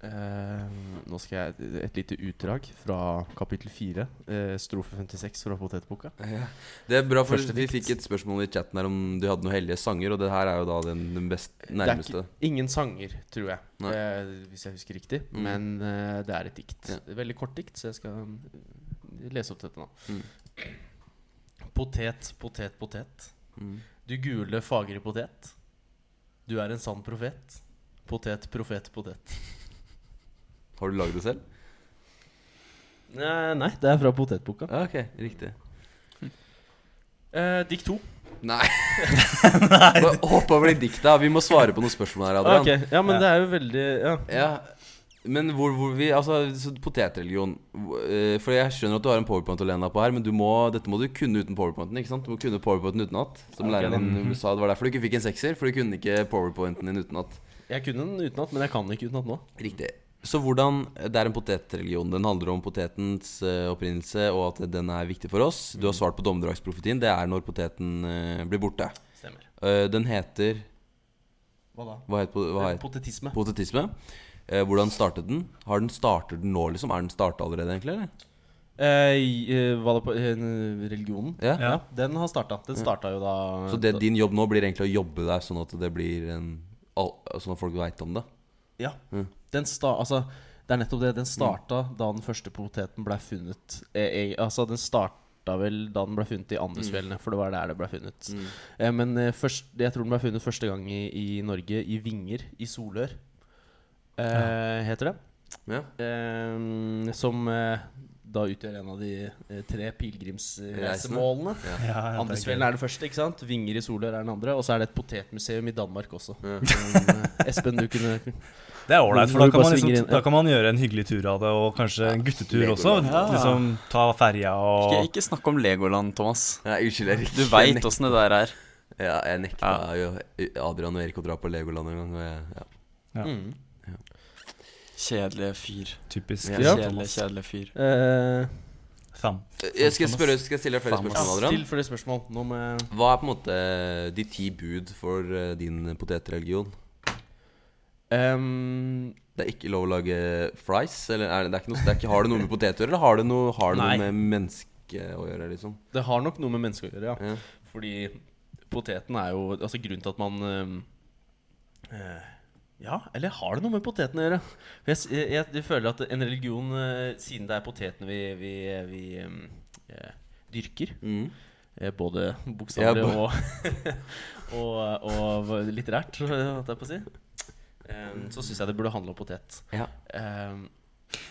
S4: eh, Nå skal jeg et lite utdrag fra kapittel 4, eh, strofe 56 fra Potetboka.
S1: Det er bra, for
S4: Første
S1: vi
S4: dikt.
S1: fikk et spørsmål i chatten her om du hadde noen hellige sanger, og det her er jo da den, den best
S4: Det
S1: nærmeste.
S4: er ikke, ingen sanger, tror jeg,
S1: Nei.
S4: eh, hvis jeg husker riktig.
S1: Mm.
S4: Men eh, det er et dikt.
S1: Ja.
S4: Et Veldig kort dikt, så jeg skal eh, lese opp dette nå.
S1: Mm.
S4: Potet, potet, potet.
S1: Mm.
S4: Du gule, fagre potet. Du er en sann profet. Potet, profet, potet.
S1: Har du lagd det selv?
S4: Nei, Eh, nei, det er fra Potetboka.
S1: Ja, ok, riktig.
S4: Eh, dikt to.
S1: Nei! Bare Hopp over de dikta. Vi må svare på noen spørsmål her, Adrian.
S4: Ah, Ok, Ja, men det er jo veldig ja.
S1: Ja, men hvor, hvor vi Altså, så potetreligion hvor- eh, For jeg skjønner at du har en powerpoint å lene deg på her, men du må, dette må du kunne uten powerpointen, ikke sant? Du må kunne powerpointen utenat. Som
S4: Ja, ok,
S1: læreren din sa, det var derfor du ikke fikk en sekser, for du kunne ikke powerpointen din utenat.
S4: Jeg kunne den utenat, men jeg kan den ikke utenat nå.
S1: Riktig. Så hvordan eh, Det er en potetreligion. Den handler om potetens eh, opprinnelse, og at den er viktig for oss. Du har
S3: Mm.
S1: svart på dommedagsprofetien. Det er når poteten eh, blir borte.
S4: Stemmer.
S1: Eh, den heter
S4: Hva da?
S1: Hva heter, po- hva heter
S4: Potetisme.
S1: Potetisme. Eh, hvordan startet den? Har den startet den nå, liksom? Er den starta allerede, egentlig? eller?
S4: Eh, i- eh, hva da på eh, religionen?
S1: Ja.
S2: Ja.
S4: Den har starta. Den starta jo da
S1: Så det, din jobb nå blir egentlig å jobbe der, sånn at det blir en al- Sånn at folk veit om det?
S4: Ja.
S1: Mm.
S4: Den sta, altså, det er nettopp det. Den starta da den første poteten ble funnet. Eh, eh, altså, den starta vel da den ble funnet i
S1: Mm.
S4: Andesfjellene, for det var der det ble funnet. Eh, men eh, først, jeg tror den ble funnet første gang i, i Norge, i Vinger, i Solør, eh, heter det.
S1: Ja.
S4: Eh, som eh, da utgjør en av de eh, tre pilegrimsreisemålene.
S2: Ja, ja, det er
S4: Andesfjellen
S2: gøy.
S4: er det første, ikke sant? Vinger i Solør er den andre. Og så er det et potetmuseum i Danmark også.
S1: Ja.
S4: Men, eh, Espen, du kunne
S2: Det er ålreit, for
S4: Hvor
S2: da
S4: du
S2: kan,
S4: bare
S2: man liksom,
S4: svinger inn, ja.
S2: da kan man gjøre en hyggelig tur av det, og kanskje en guttetur
S1: Legoland.
S2: også.
S3: Ja.
S2: Liksom ta ferja
S3: Ikke,
S2: og
S3: ikke snakk om Legoland, Thomas.
S1: Nei, unnskyld, Erik.
S3: Du veit åssen det der er.
S1: Ja, jeg nekta jo Adrian og Erik å dra på Legoland en gang. Og jeg, ja.
S4: mm.
S3: Kjedelige fyr.
S2: typisk
S4: Ja.
S3: Kjedelig, kjedelig fyr.
S4: Eh,
S2: Fam.
S1: jeg Eh, skal, spørre, skal jeg stille deg flere
S3: Faen, ass.
S1: spørsmål, Adrian?
S4: Still flere spørsmål. Nå må jeg
S1: Hva er på en måte eh, de ti bud for eh, din potetreligion?
S4: Ehm,
S1: Det er ikke lov å lage fries? Eller er det, det er ikke noe, det er ikke, har det noe med poteter å gjøre, eller har det noe, har det
S4: Nei.
S1: noe med menneske å gjøre? liksom?
S4: Det har nok noe med mennesker å gjøre, ja.
S1: Ja.
S4: Fordi poteten er jo Altså grunnen til at man ehm, eh, Ja, eller har det noe med poteten å gjøre? For jeg, s- jeg, jeg, jeg føler at en religion, eh, siden det er poteten vi, vi, vi ehm, eh, dyrker
S1: Mm.
S4: Eh, Både
S1: Ja,
S4: bokstavelig
S1: bo-
S4: og, og, og litterært, holdt jeg på å si. Ehm, så syns jeg det burde handle om potet.
S1: Ja.
S4: Ehm,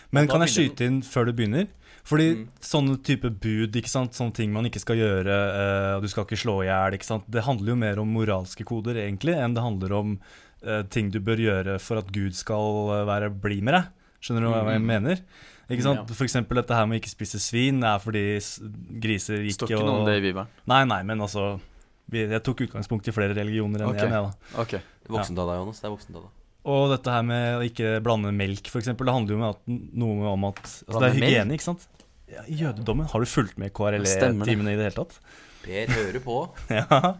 S2: Men
S4: Da
S2: kan jeg
S4: begynner
S2: skyte inn før du begynner? Fordi
S3: Mm.
S2: sånne type bud, ikke sant? sånne ting man ikke skal gjøre, eh, og du skal ikke slå i hjel, ikke sant? det handler jo mer om moralske koder egentlig, enn det handler om eh, ting du bør gjøre for at Gud skal eh, være blid med deg. Skjønner du hva
S3: Mm.
S2: jeg mener? Ikke sant?
S4: Ja.
S2: For eksempel dette her med ikke spise svin, det er fordi s- griser
S3: Det
S2: ikke
S3: står ikke noe om det i Bibelen.
S2: Nei, nei, men altså vi- Jeg tok utgangspunkt i flere religioner enn
S3: Ok.
S2: én, jeg, da.
S3: Ok.
S1: Voksentall, da, Johannes. Det er voksentall. da.
S2: Og dette her med å ikke blande melk, f.eks., det handler jo om at, noe om at altså Det
S3: Blande
S2: er
S3: melk?
S2: hygiene, ikke sant? Ja, I jødedommen, har du fulgt med
S3: Stemmer det.
S2: KRLE-timene E i det hele tatt?
S1: Per hører på.
S2: Ja.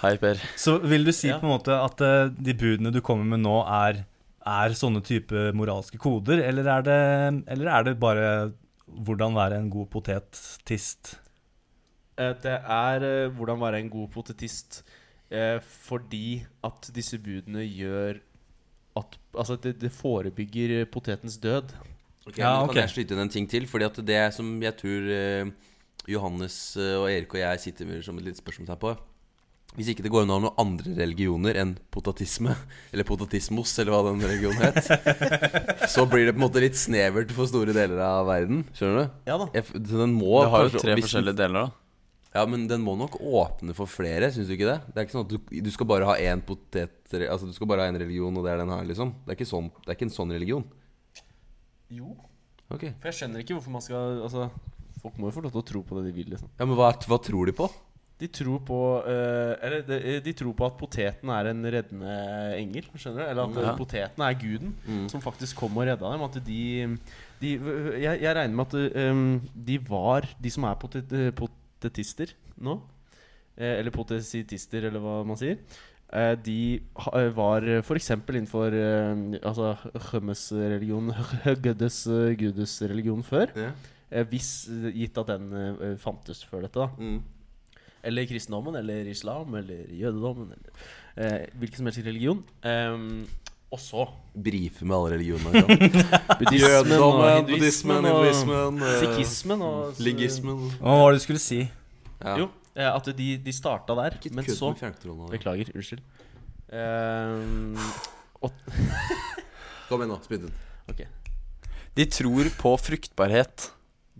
S3: Hei, Per.
S2: Så vil du si
S4: Ja.
S2: på en måte at eh, de budene du kommer med nå, er, er sånne type moralske koder, eller er, det, eller er det bare hvordan være en god potetist?
S4: Eh, Det er eh, hvordan være en god potetist eh, fordi at disse budene gjør at Altså, det, det forebygger eh, potetens død.
S1: Ok,
S2: Ja,
S1: men
S2: ok.
S1: Kan jeg skyte inn en ting til? Fordi at det som jeg tror eh, Johannes eh, og Erik og jeg sitter med som et lite spørsmålstegn på Hvis ikke det går an å ha noen andre religioner enn potatisme, eller potatismos, eller hva den religionen het, så blir det på en måte litt snevert for store deler av verden. Skjønner du?
S4: Ja da.
S1: Jeg f- så den må
S3: Det har jo
S1: kanskje-
S3: tre
S1: hvis den-
S3: forskjellige deler, da.
S1: Ja, men den må nok åpne for flere, syns du ikke det? Det er ikke sånn at du, du skal bare ha én potet... Altså, du skal bare ha én religion, og det er den her, liksom. Det er ikke, sånn, det er ikke en sånn religion.
S4: Jo.
S1: Ok
S4: For jeg skjønner ikke hvorfor man skal Altså, folk må jo få lov til å tro på det de vil, liksom.
S1: Ja, men hva, hva tror de på?
S4: De tror på eh, Eller de, de tror på at poteten er en reddende engel. Skjønner du? Eller at eh,
S3: Ja.
S4: poteten er guden som faktisk kom og redda dem. At de, de jeg, jeg regner med at eh, de var De som er potet, eh, potetister nå, eh, eller potesitister, eller hva man sier eh, de ha- eh, var f.eks. innenfor eh, altså, Hømmes-religion, Gudes-religion før.
S1: Ja.
S4: Eh, Hvis, eh, gitt at den eh, fantes før dette, da.
S1: Mm.
S4: Eller kristendommen, eller islam, eller jødedommen, eller eh, hvilken som helst religion. Um, og så
S1: Brife med alle religioner. ja.
S4: buddhismen og
S1: Jødedommen, buddhismen,
S4: hinduismen og
S1: hinduismen, eh,
S4: sikhismen og
S1: ligismen
S2: Hva var det du skulle si?
S1: ja.
S4: Jo, eh, at de, de starta der.
S1: Ikke
S4: Men
S1: kødd
S4: så
S1: med fjernkontrollen. da.
S4: Beklager, unnskyld. Um,
S1: Kom igjen, nå. Spytt ut.
S4: ok.
S3: De tror på fruktbarhet.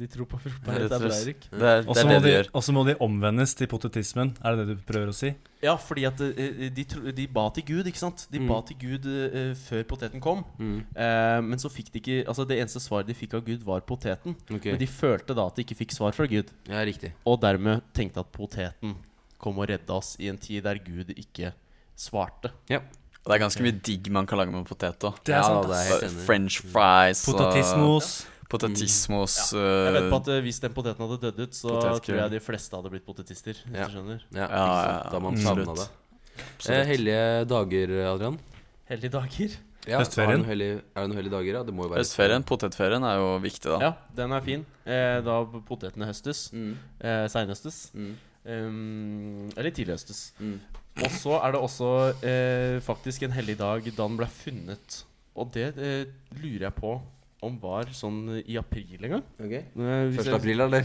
S4: De tror på
S3: Rett og
S4: fruktbarhet, det er bra,
S3: slett.
S4: Erik.
S3: Det er
S2: Og
S3: det,
S2: så
S3: er
S2: må,
S3: det de
S2: de-
S3: gjør.
S2: og så må de omvendes til potetismen. Er det det du prøver å si?
S4: Ja, fordi at eh, de, tro- de ba til Gud, ikke sant? De
S1: Mm.
S4: ba til Gud eh, før poteten kom.
S1: Mm.
S4: Eh, men så fikk de ikke Altså det eneste svaret de fikk av Gud, var poteten.
S1: Ok.
S4: Men de følte da at de ikke fikk svar fra Gud,
S1: Ja, riktig.
S4: og dermed tenkte at poteten kom og redda oss i en tid der Gud ikke svarte.
S1: Ja.
S3: Og det er ganske mye digg man kan lage med potet òg.
S2: Det
S1: ja,
S2: er sant,
S1: da, det er
S2: ass.
S1: jeg helt enig. i.
S3: French fries og-
S2: Potatismos.
S3: Potatismos.
S4: Jeg vet på
S3: øh,
S4: at eh, hvis den poteten hadde dødd ut, så
S3: Potetgull.
S4: tror jeg de fleste hadde blitt potetister. Hvis
S1: Ja.
S4: du skjønner
S1: Ja,
S3: Ja,
S1: ikke
S3: ja,
S1: sant. Da har man
S2: absolutt.
S1: savna det. Eh, hellige dager, Adrian?
S4: Hellige dager.
S1: Ja,
S2: Høstferien.
S1: Er det noen hellige, er det noen hellige dager, da? Det må jo være
S3: Høstferien, potetferien, er jo viktig, da.
S4: Ja, den er fin. Eh, da potetene høstes.
S1: Mm.
S4: Eh, Seinhøstes.
S1: Mm.
S4: Um, eller tidlighøstes.
S1: Mm.
S4: Og så er det også eh, faktisk en hellig dag da den ble funnet. Og det eh, lurer jeg på om var sånn i april en gang.
S1: Ok.
S4: Eh,
S1: 1.
S4: hvis jeg-
S1: april, eller?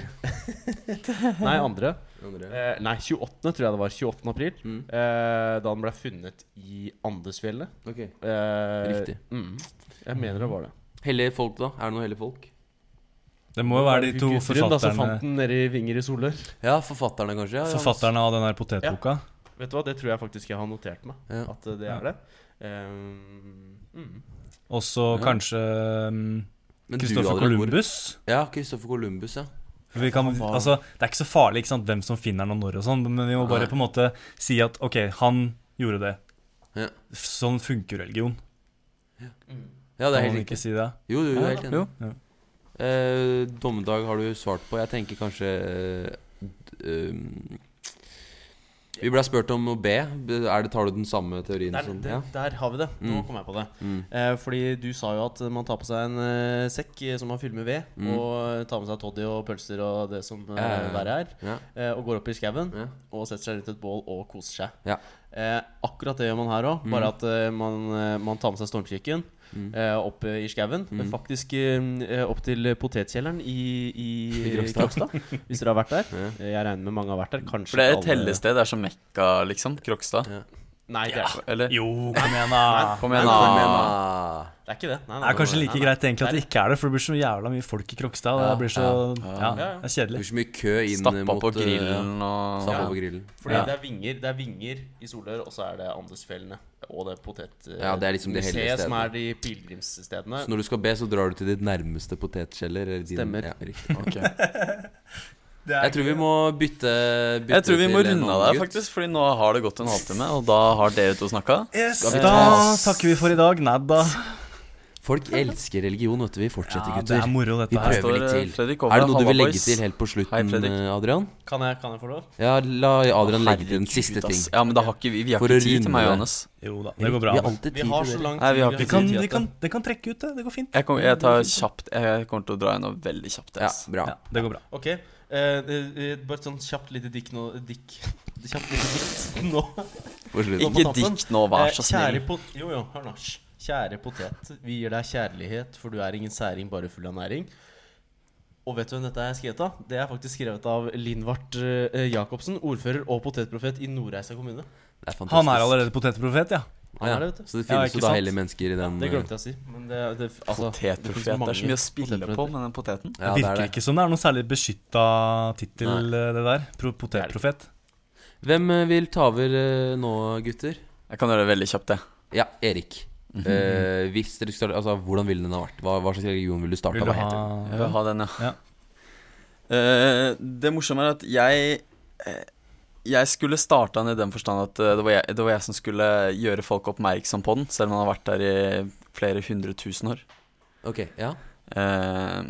S4: Nei, andre.
S1: Andre.
S4: Eh, nei, 28. tror jeg det var. 28. april.
S1: Mm.
S4: Eh, da den ble funnet i Andesfjellet.
S1: Ok.
S4: Eh,
S1: Riktig.
S4: Mm, jeg mener det var det.
S1: Hellige folk, da? Er det noen hellige folk?
S2: Det må jo være de to
S4: Gudrun, da, som altså, fant
S2: forfatterne
S4: den nede i Vinger i Solør.
S1: Ja, forfatterne, kanskje? Ja, altså. ja.
S2: Forfatterne av den der potetboka.
S4: Vet du hva, det tror jeg faktisk jeg har notert meg.
S1: Ja.
S4: At eh, det
S2: Ja.
S4: er det. Eh, mm.
S2: Og så kanskje mm,
S1: Men du,
S2: Christopher
S1: Adrian, hvor-
S2: Columbus.
S1: Ja, Christopher Columbus, ja.
S2: For Vi kan,
S4: var-
S2: altså, det er ikke så farlig ikke sant, hvem som finner den og når, og sånn, men vi må bare
S1: Nei.
S2: på en måte si at OK, han gjorde det.
S1: Ja.
S2: Sånn funker religion.
S1: Ja, det er
S2: Kan man
S1: helt riktig.
S2: ikke si det?
S1: Jo, du, du er helt enig.
S3: Jo.
S1: Eh, dommedag har du svart på. Jeg tenker kanskje eh, d- um, Vi ble spurt om å be. Er det, tar du den samme teorien
S4: Der,
S1: som
S4: der,
S1: sånn, ja?
S4: der har vi det. Nå
S1: Mm.
S4: kom jeg på det.
S1: Mm.
S4: Eh, fordi du sa jo at man tar på seg en eh, sekk eh, som man fyller med ved,
S1: Mm.
S4: og tar med seg toddy og pølser og det som eh,
S1: Ja, ja, ja.
S4: verre er,
S1: Ja.
S4: eh, og går opp i skauen
S1: Ja.
S4: og setter seg rundt et bål og koser seg.
S1: Ja.
S4: Eh, akkurat det gjør man her òg, bare at eh, man, eh, man tar med seg stormkirken
S1: Mm.
S4: eh, opp eh, i skauen. men Faktisk eh, opp til potetkjelleren i, i,
S1: I Krokstad.
S4: Krokstad, hvis dere har vært der.
S1: Ja.
S4: Eh, Jeg regner med mange har vært der. Kanskje
S3: For det er et
S4: ikke alle-
S3: helligsted. Det er som Mekka, liksom. Krokstad.
S4: Nei, det er,
S3: Eller?
S2: Jo, kom igjen, da.
S3: Kom igjen,
S1: Kom igjen,
S3: da.
S1: da.
S4: det er ikke det. Nei, nei,
S2: Det er kanskje
S4: nei,
S2: like
S4: nei.
S2: greit egentlig at det ikke er det, for det blir så jævla mye folk i Krokstad. og Det blir så, ja,
S4: Ja, ja.
S2: det er
S1: Det
S2: kjedelig.
S1: blir så mye kø inn
S3: Stappa
S1: mot
S3: på
S1: eh,
S3: grillen
S1: ja.
S3: og
S1: Stappa
S4: Ja.
S1: på grillen.
S4: Fordi
S2: Ja.
S4: det, er vinger, det er vinger i Solør, og så er det Andesfjellene. Og det potetmuseet
S1: Ja, det er liksom de hellige
S4: som
S1: stedene.
S4: er de pilegrimsstedene.
S1: Så når du skal be, så drar du til ditt nærmeste potetkjeller. eller din-
S4: Stemmer.
S1: Ja, riktig.
S3: Ok.
S1: Jeg tror vi må bytte, bytte
S3: Jeg tror vi må
S1: til en
S3: runde av
S1: annen
S3: der,
S1: gutt.
S3: faktisk, Fordi nå har det gått en halvtime, og da har dere to snakka.
S2: Yes,
S1: Skal vi
S2: da
S1: ta-
S2: takker vi for i dag. Nei da.
S1: Folk elsker religion, vet du. Vi fortsetter,
S2: Ja, det
S1: gutter.
S2: er moro,
S1: Vi
S2: dette her.
S1: prøver
S3: står,
S1: litt
S3: eh,
S1: til.
S3: Fredrik
S1: er
S3: Hovland,
S1: det noe du vil
S3: Halla
S1: legge
S3: boys.
S1: til helt på
S3: Hei,
S1: slutten,
S3: Fredrik.
S1: eh, Adrian?
S4: Kan jeg, kan jeg få lov?
S1: Ja, la Adrian legge til en siste
S3: Herregud,
S1: ting.
S3: ass. Ja, men da har ikke vi, vi har
S1: For å
S3: ikke tid
S1: runde
S3: til meg
S1: det.
S3: og Johannes.
S2: Jo da, det går bra.
S1: Vi har
S2: da.
S1: alltid
S4: Vi
S1: tid
S4: har
S1: til
S4: så
S1: det.
S4: lang
S3: Nei, vi har
S4: tid,
S2: Vi
S3: ikke
S4: har
S2: kan,
S4: tid
S2: vi
S4: til
S2: kan,
S4: dette.
S2: det kan trekke ut, det. Det går fint.
S3: Jeg, kom, jeg tar kjapt Jeg kommer til å dra gjennom veldig kjapt.
S1: Ja,
S3: ass.
S1: bra.
S2: Ja, det går bra.
S4: Ok. eh, eh, bare et sånn kjapt lite dikk nå Dikk. Kjapt lite dikt nå.
S1: På slutten.
S3: Ikke
S4: på tampen.
S3: dikt nå, vær
S4: Eh,
S3: så
S4: Kjære
S3: snill.
S4: pot... Jo, jo, hør nå. Hysj. Kjære potet, vi gir deg kjærlighet, for du er ingen særing, bare full av næring. Og vet du hvem dette er skrevet av? Det er faktisk skrevet av Lindvart eh, Jacobsen, ordfører og potetprofet i Nordreisa kommune.
S1: Det er fantastisk.
S2: Han er allerede potetprofet, ja.
S1: Ah, ja.
S4: Han er det, vet du.
S1: Så det
S2: Ja,
S1: finnes
S2: ikke
S1: jo da
S2: sant?
S1: hellige mennesker i den
S4: Det
S1: eh,
S4: glemte jeg å si. Men det, det, altså,
S3: Potetprofet.
S4: finnes
S3: Det er så mye å
S4: mange
S3: spille på
S4: potetprofeter.
S3: med den poteten.
S1: eh, ja,
S2: det
S1: det er
S2: virker
S1: det.
S2: ikke som det er noen særlig beskytta tittel,
S1: Nei.
S2: eh, det der. Pro- Potetprofet.
S1: Hvem eh, vil ta over eh, nå, gutter?
S3: Jeg kan gjøre det veldig kjapt, jeg.
S1: Ja, Erik. Eh, hvis dere skulle starte, altså, Hvordan ville den ha vært? Hva, hva slags religion ville du starta?
S2: Vil du
S1: Hva heter den?
S3: Jeg vil
S2: ha
S3: ha den, ja.
S2: Ja.
S3: Eh, det morsomme er at jeg eh, Jeg skulle starta den i den forstand at eh, det var, jeg, det var jeg som skulle gjøre folk oppmerksom på den, selv om den har vært der i flere hundre tusen år.
S1: Ok, ja.
S3: Eh,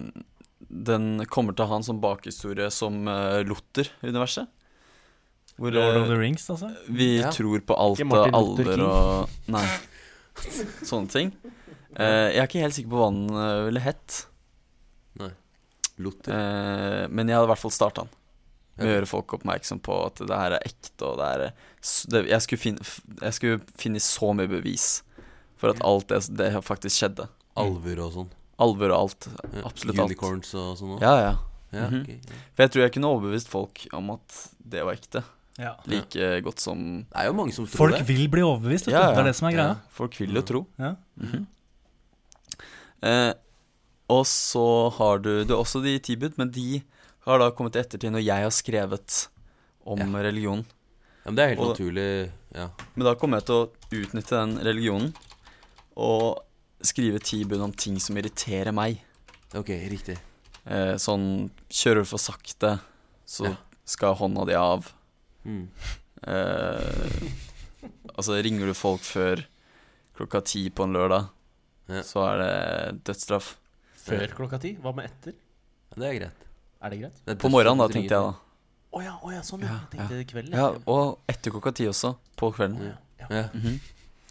S3: den kommer til å ha en sånn bakhistorie som eh, Luther-universet. Hvor
S2: Lord of
S3: eh,
S2: the Rings, altså?
S3: vi
S1: Ja.
S3: tror på alt
S4: Ikke
S3: og
S4: Martin Luther
S3: alder og Nei. Sånne ting. Eh, jeg er ikke helt sikker på hva den eh, ville hett,
S1: Luther.
S3: eh, men jeg hadde i hvert fall starta den. Med å
S1: Ja.
S3: gjøre folk oppmerksom på at det her er ekte, og det her er s- det, jeg, skulle finne, jeg skulle finne så mye bevis for at alt det, det faktisk skjedde.
S1: Alver og sånn.
S3: Alvor og alt.
S1: Ja,
S3: Absolutt alt.
S1: Unicorns og sånn også.
S3: Ja, ja.
S1: Ja,
S3: mhm.
S1: ok, ja.
S3: For jeg tror jeg kunne overbevist folk om at det var ekte.
S2: Ja.
S3: Like godt som
S1: Det er jo mange som tror
S2: Folk
S1: det.
S2: vil bli overbevist, vet du.
S3: Ja, ja.
S2: Det er det som er greia.
S3: Ja, Folk vil jo
S1: Mm.
S3: tro.
S2: Ja.
S3: Mhm. eh, og så har du Det er også de i tilbud, men de har da kommet i ettertid når jeg har skrevet om
S1: Ja.
S3: religion.
S1: Ja, men det er helt
S3: Og-
S1: naturlig. Ja.
S3: Men da kommer jeg til å utnytte den religionen og skrive tilbud om ting som irriterer meg.
S1: Ok, riktig.
S3: Eh, sånn Kjører du for sakte, så
S1: Ja.
S3: skal hånda di av.
S1: Mm.
S3: Eh, altså, ringer du folk før klokka ti på en lørdag,
S1: Ja.
S3: så er det dødsstraff.
S4: Før klokka ti? Hva med etter?
S1: Ja, det er greit.
S4: Er det greit?
S1: Det er
S3: På morgenen, da,
S1: dødssykt
S3: tenkte jeg da.
S4: Å ja, å ja, sånn ja. Jeg
S3: Ja,
S4: tenkte kvelden.
S3: Ja, Og etter klokka ti også, på kvelden.
S1: dritlig. Ja,
S3: Mhm.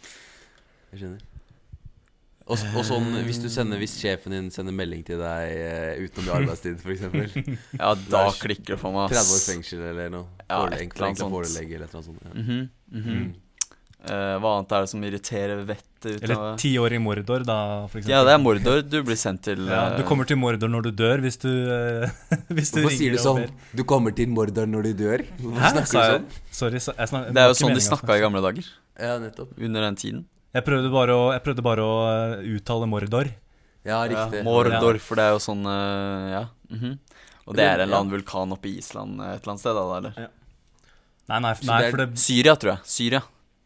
S1: jeg skjønner. Og, s- og sånn, hvis, du sender, hvis sjefen din sender melding til deg eh, utenom i arbeidstid, f.eks.
S3: Ja, da
S1: er s-
S3: klikker det for meg,
S1: 30 års
S3: ass.
S1: fengsel eller noe.
S3: Ja,
S1: Forelegg,
S3: et eller
S1: forenklet
S3: annet sånt.
S1: forelegg eller et eller annet sånt.
S3: Mhm, mhm.
S1: Mm.
S3: Eh, hva annet er det som irriterer vettet ut
S2: Eller
S3: av
S2: ti år i Mordor, da, for eksempel.
S3: Ja, det er Mordor du blir sendt til.
S2: Ja, du
S3: eh,
S2: kommer til Mordor når du dør, hvis du, eh, hvis du
S1: Hvorfor sier du
S2: ringer og
S1: sånn? Du kommer til Mordor når du dør? Hvorfor
S2: Hæ?
S1: snakker
S2: Sa
S1: du
S2: jeg
S1: sånn?
S2: Sorry, sa- jeg snak,
S3: Det er
S2: var
S3: jo
S2: ikke
S3: sånn de
S2: meningen å
S3: snakka i gamle dager.
S1: Ja, nettopp.
S3: Under den tiden.
S2: Jeg prøvde bare å, jeg prøvde bare å eh, uttale Mordor.
S1: Ja, riktig.
S3: Ja, Mordor, for det er jo sånn eh, Ja. mhm. Og det er en eller annen vulkan oppe i Island eh, et eller annet sted, da? Eller?
S2: Nei, nei,
S1: Så
S2: nei
S1: det er-
S2: for det
S3: Syria, tror jeg. Syria.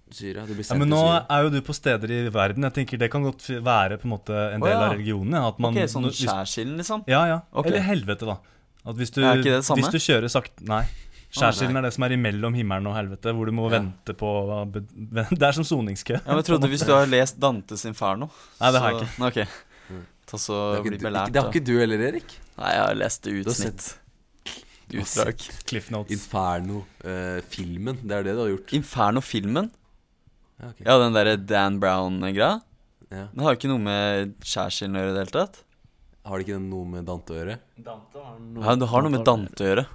S1: Syria. Du blir
S2: ja,
S1: sendt
S2: Men nå
S1: til Syria.
S2: er jo du på steder i verden. Jeg tenker Det kan godt fi- være på en måte en
S3: Å,
S2: del
S3: ja.
S2: av religionen. ja, At man,
S3: ok, sånn
S2: når- hvis,
S3: skjærsilden, liksom?
S2: Ja, ja.
S3: Ok.
S2: Eller helvete, da. At hvis du,
S3: Er ikke det det samme?
S2: Hvis du kjører sakte Nei. Skjærsilden er det som er imellom himmelen og helvete, hvor du må
S1: Ja.
S2: vente på Det er som soningskø.
S3: Ja, men jeg trodde hvis du har lest Dantes Inferno
S2: Nei, det har jeg
S3: så- Nei, ok. Ta
S1: Mm. Det
S3: så
S1: har ikke
S3: bli
S1: du-
S3: belært,
S1: ikke- Det har
S3: da.
S1: ikke du heller, Erik.
S3: Nei, jeg har lest det
S1: Du har
S3: utsnitt. Utdrag.
S2: Cliff Notes.
S1: Inferno-filmen. eh, det er det du har gjort.
S3: Inferno-filmen?
S1: Ja, ok.
S3: Ja, den derre Dan Brown-greia?
S1: Ja.
S3: Den har jo ikke noe med skjærsilden å gjøre i det hele tatt.
S1: Har det ikke noe med Dante å gjøre?
S4: Dante har noe,
S3: Ja, det har noe med Dante å gjøre.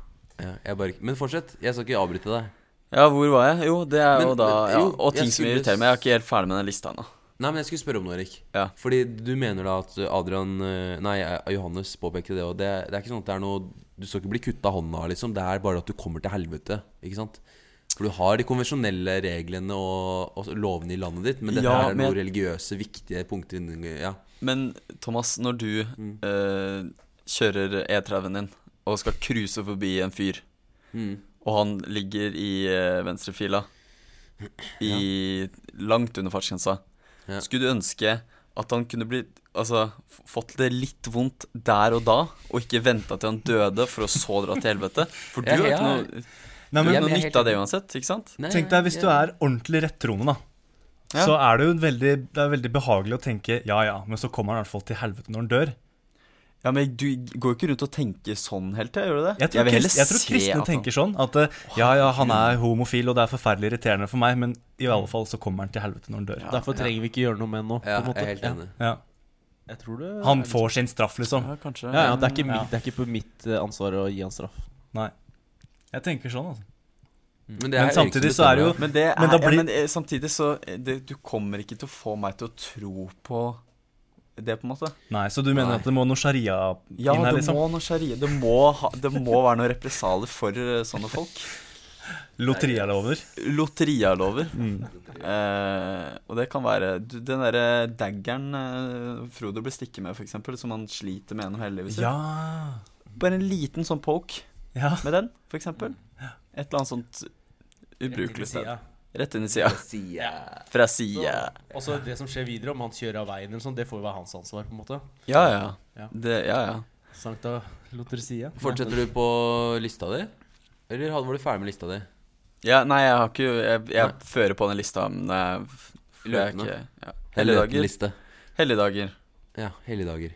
S1: Ja, jeg bare, ikke- men fortsett. Jeg skal ikke avbryte deg.
S3: Ja, hvor var jeg? Jo, det er
S1: Men-
S3: jo da
S1: men-
S3: ja,
S1: jo,
S3: Og ting
S1: jeg
S3: som
S1: skulle-
S3: irriterer meg. Jeg er ikke helt ferdig med den lista ennå.
S1: Nei, men jeg skulle spørre om noe, Erik.
S3: Ja.
S1: Fordi du mener da at Adrian eh, Nei, eh, Johannes påpekte det, og det, det er ikke sånn at det er noe Du skal ikke bli kutta hånda, liksom. Det er bare at du kommer til helvete, ikke sant? For du har de konvensjonelle reglene og, og lovene i landet ditt, men dette
S3: Ja,
S1: er
S3: men-
S1: noen religiøse, viktige punkter innen Ja.
S3: Men Thomas, når du
S1: Mm.
S3: eh, kjører E30-en din og skal cruise forbi en fyr,
S1: Mm.
S3: og han ligger i eh, venstrefila i langt under fartsgrensa,
S1: Ja.
S3: skulle du ønske at han kunne bli Altså f- fått det litt vondt der og da, og ikke venta til han døde for å så dra til helvete? For du
S1: Ja,
S3: har
S1: ja.
S3: ikke noe,
S2: Nei,
S3: du har
S2: men,
S1: Jeg-
S3: ikke noe
S1: er helt
S3: nytte av det
S1: enig.
S3: uansett, ikke sant?
S1: Nei,
S2: Tenk deg hvis du er ordentlig rettroende, da.
S3: Ja.
S2: Så er det jo en veldig, det er veldig behagelig å tenke ja ja, men så kommer han i hvert fall til helvete når han dør.
S3: Ja, men du går jo ikke rundt og tenker sånn helt til, gjør du det?
S2: Jeg tror,
S3: vil heller
S2: krist, jeg tror
S3: se at
S2: kristne
S3: han-
S2: tenker sånn. At eh, ja ja, han er homofil, og det er forferdelig irriterende for meg, men i
S3: Mm.
S2: alle fall så kommer han til helvete når han dør.
S4: Derfor trenger vi ikke gjøre noe med den nå. på
S1: Ja,
S4: en
S1: jeg
S4: måte.
S1: er helt enig.
S2: Ja.
S4: Ja, jeg tror det
S2: Han får sin straff, liksom.
S3: Ja, kanskje.
S4: ja, ja, det, er ikke mitt,
S2: Ja.
S4: det er ikke på mitt eh, ansvar å gi han straff.
S2: Nei. Jeg tenker sånn, altså.
S1: Men,
S2: Men
S1: Erik som
S2: samtidig så er det jo
S1: bestemmer.
S3: Men, det er,
S2: Men da blir-
S3: ja, men eh, samtidig så eh, det, Du kommer ikke til å få meg til å tro på det, på en måte.
S2: Nei, så du mener
S1: Nei.
S2: at det må noe sharia
S3: Ja,
S2: inn her,
S3: det
S2: liksom?
S3: må noe sharia det, må ha- det må være noen represalier for eh, sånne folk.
S2: Loterialover?
S3: Lotterialover.
S2: Mm.
S3: Eh, og det kan være du, Den derre daggeren eh, Frodo blir stikket med, f.eks., som han sliter med gjennom hele livet sitt.
S2: Ja.
S3: Bare en liten sånn poke
S2: ja.
S3: med den, f.eks. Et eller annet sånt ubrukelig sted.
S4: Ja.
S3: Rett inn i sida.
S1: Sier-
S3: Fra sida.
S4: Og så det som skjer videre, om han kjører av veien eller sånn, det får jo være hans ansvar, på en måte.
S3: Ja, ja.
S4: Ja.
S3: Det, ja, ja.
S4: Sankta Lottersia.
S1: Fortsetter du på lista di? Eller hadde- var du ferdig med lista di?
S3: Ja, nei, jeg har ikke Jeg, jeg fører på den lista, men det er- det er
S1: Løpende.
S3: ikke ja.
S1: Eller
S3: Helligdager.
S1: liste.
S3: Helligdager.
S1: Ja, helligdager.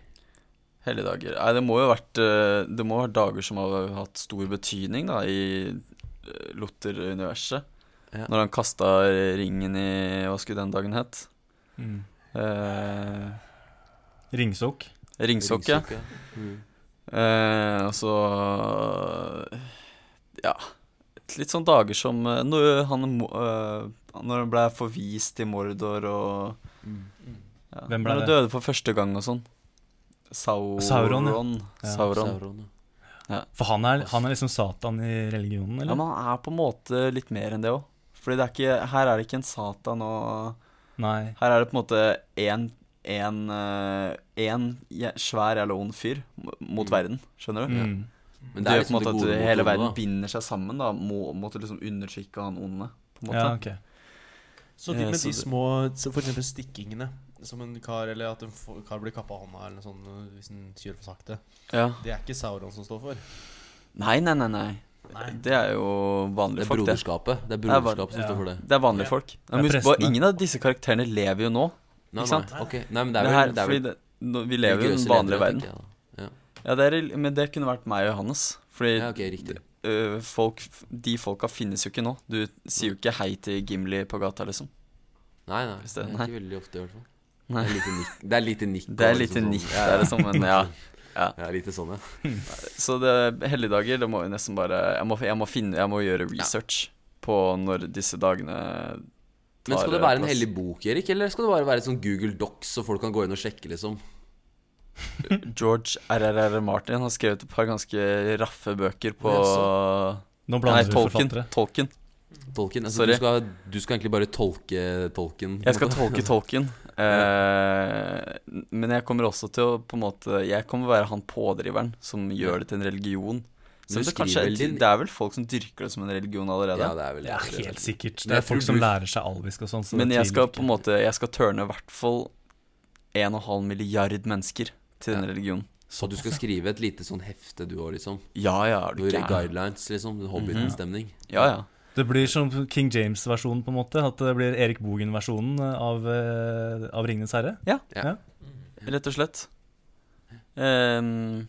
S3: Helligdager. Nei, det må jo ha vært eh, Det må ha vært dager som har hatt stor betydning da i eh, Luther-universet.
S1: Ja.
S3: Når han kasta ringen i Hva skulle den dagen hett?
S2: Mm.
S3: Eh,
S2: Ringsokk.
S3: ringsokk, ja.
S1: Ringsokke. Mm.
S3: Eh, og så Ja. Litt sånn dager som eh, når han mo- eh, Når han ble forvist til Mordor og ja,
S2: Mm. Hvem ble
S3: Når han
S2: det?
S3: døde for første gang og sånn. Sauron.
S2: Sauron, Ja,
S3: Sauron.
S1: Sauron, Mm. ja.
S2: For han er, han er liksom Satan i religionen,
S3: Ja,
S2: eller?
S3: men han er på en måte litt mer enn det òg. Fordi det er ikke, her er det ikke en Satan og
S2: Nei.
S3: Her er det på en måte én en, eh, en jæ- svær jævla ond fyr m- mot verden, skjønner du?
S2: Mm.
S1: Men
S3: det, er på en
S1: liksom
S3: måte
S1: det
S3: at
S1: gode mot
S3: hele
S1: onde,
S3: verden
S1: da.
S3: binder seg sammen da, må, måtte liksom undertrykke han onde. På en måte.
S2: Ja, ok.
S4: Så de
S3: Ja,
S4: med
S3: så
S4: de
S3: det-
S4: små, så for eksempel stikkingene Som en kar, eller at en f- kar blir kappa av hånda Eller noe sånt, øh, hvis en kjører for sakte
S3: Ja.
S4: Det er ikke Sauron som står for
S3: Nei, nei, nei, nei.
S4: Nei.
S3: Det er jo
S1: Det
S3: vanlige
S1: er
S3: folk, det.
S1: broderskapet. Det er
S3: er bare-
S1: broderskapet som
S2: ja.
S1: står for det.
S3: Det er vanlige
S4: Ja.
S3: folk.
S2: er
S3: Men husk på,
S2: prestene.
S3: ingen av disse karakterene lever jo nå.
S1: Nei, nei,
S3: Ikke sant?
S1: ok. nei, men det
S3: Det
S1: er
S3: her,
S1: vel, det er vel
S3: fordi det, nå, vi lever jo i den
S1: religiøse
S3: vanlige
S1: ledere,
S3: verden.
S1: tenker jeg, da.
S3: Ja, det er, men det kunne vært meg og Johannes. Fordi
S1: Ja, ok, riktig.
S3: øh, folk, de folka finnes jo ikke nå. Du sier jo ikke hei til Gimli på gata, liksom.
S1: Nei, nei.
S3: Hvis
S1: Det
S3: det-
S1: er
S3: nei.
S1: ikke veldig ofte, i hvert fall.
S3: Nei.
S1: Det er lite nikk. Det er lite nikk.
S3: Det er
S1: og
S3: litt
S1: liksom
S3: unikt,
S1: sånn,
S3: det er det som, men ja.
S1: ja, ja, lite sånn, ja.
S3: Så det, helligdager, det må jo nesten bare jeg må, jeg må finne Jeg må gjøre research på når disse dagene
S1: Men skal det
S3: tar
S1: være en
S3: plass.
S1: hellig bok, Erik, eller skal det bare være sånn Google Docs, så folk kan gå inn og sjekke, liksom?
S3: George RRR Martin har skrevet et par ganske raffe bøker på
S2: Nå
S3: Nei,
S2: blander vi
S3: Tolkien.
S2: forfattere.
S3: Tolkien.
S1: Tolken. Altså,
S3: Sorry.
S1: du, skal, du skal egentlig bare tolke tolken. på en
S3: Jeg skal
S1: måte.
S3: tolke Tolkien. Eh, men jeg kommer også til å på en måte Jeg kommer være han pådriveren som gjør det til en religion.
S1: Men
S3: Så
S1: du
S3: det, kanskje,
S1: skriver vel din-
S3: det er vel folk som dyrker det som en religion allerede.
S1: Ja, det er vel
S2: Ja,
S1: det er
S2: helt
S1: vel-
S2: sikkert.
S1: Men
S2: Det
S1: jeg
S2: er folk
S1: tror
S2: som
S1: du-
S2: lærer seg alvisk og sånn. Så
S3: Men
S2: det
S3: jeg
S2: tviler
S3: skal
S2: ikke.
S3: på en måte Jeg skal tørne i hvert fall 1,5 milliard mennesker til den religionen.
S1: Så du skal skrive et lite sånn hefte du òg, liksom?
S3: Ja ja, er du
S1: Hvor
S3: gæren?
S1: guidelines, liksom? Hobbiten-stemning.
S3: Ja ja.
S2: Det blir som King James-versjonen, på en måte. At det blir Erik Bogen-versjonen av, eh, av 'Ringenes herre'.
S3: Rett og slett. Ehm,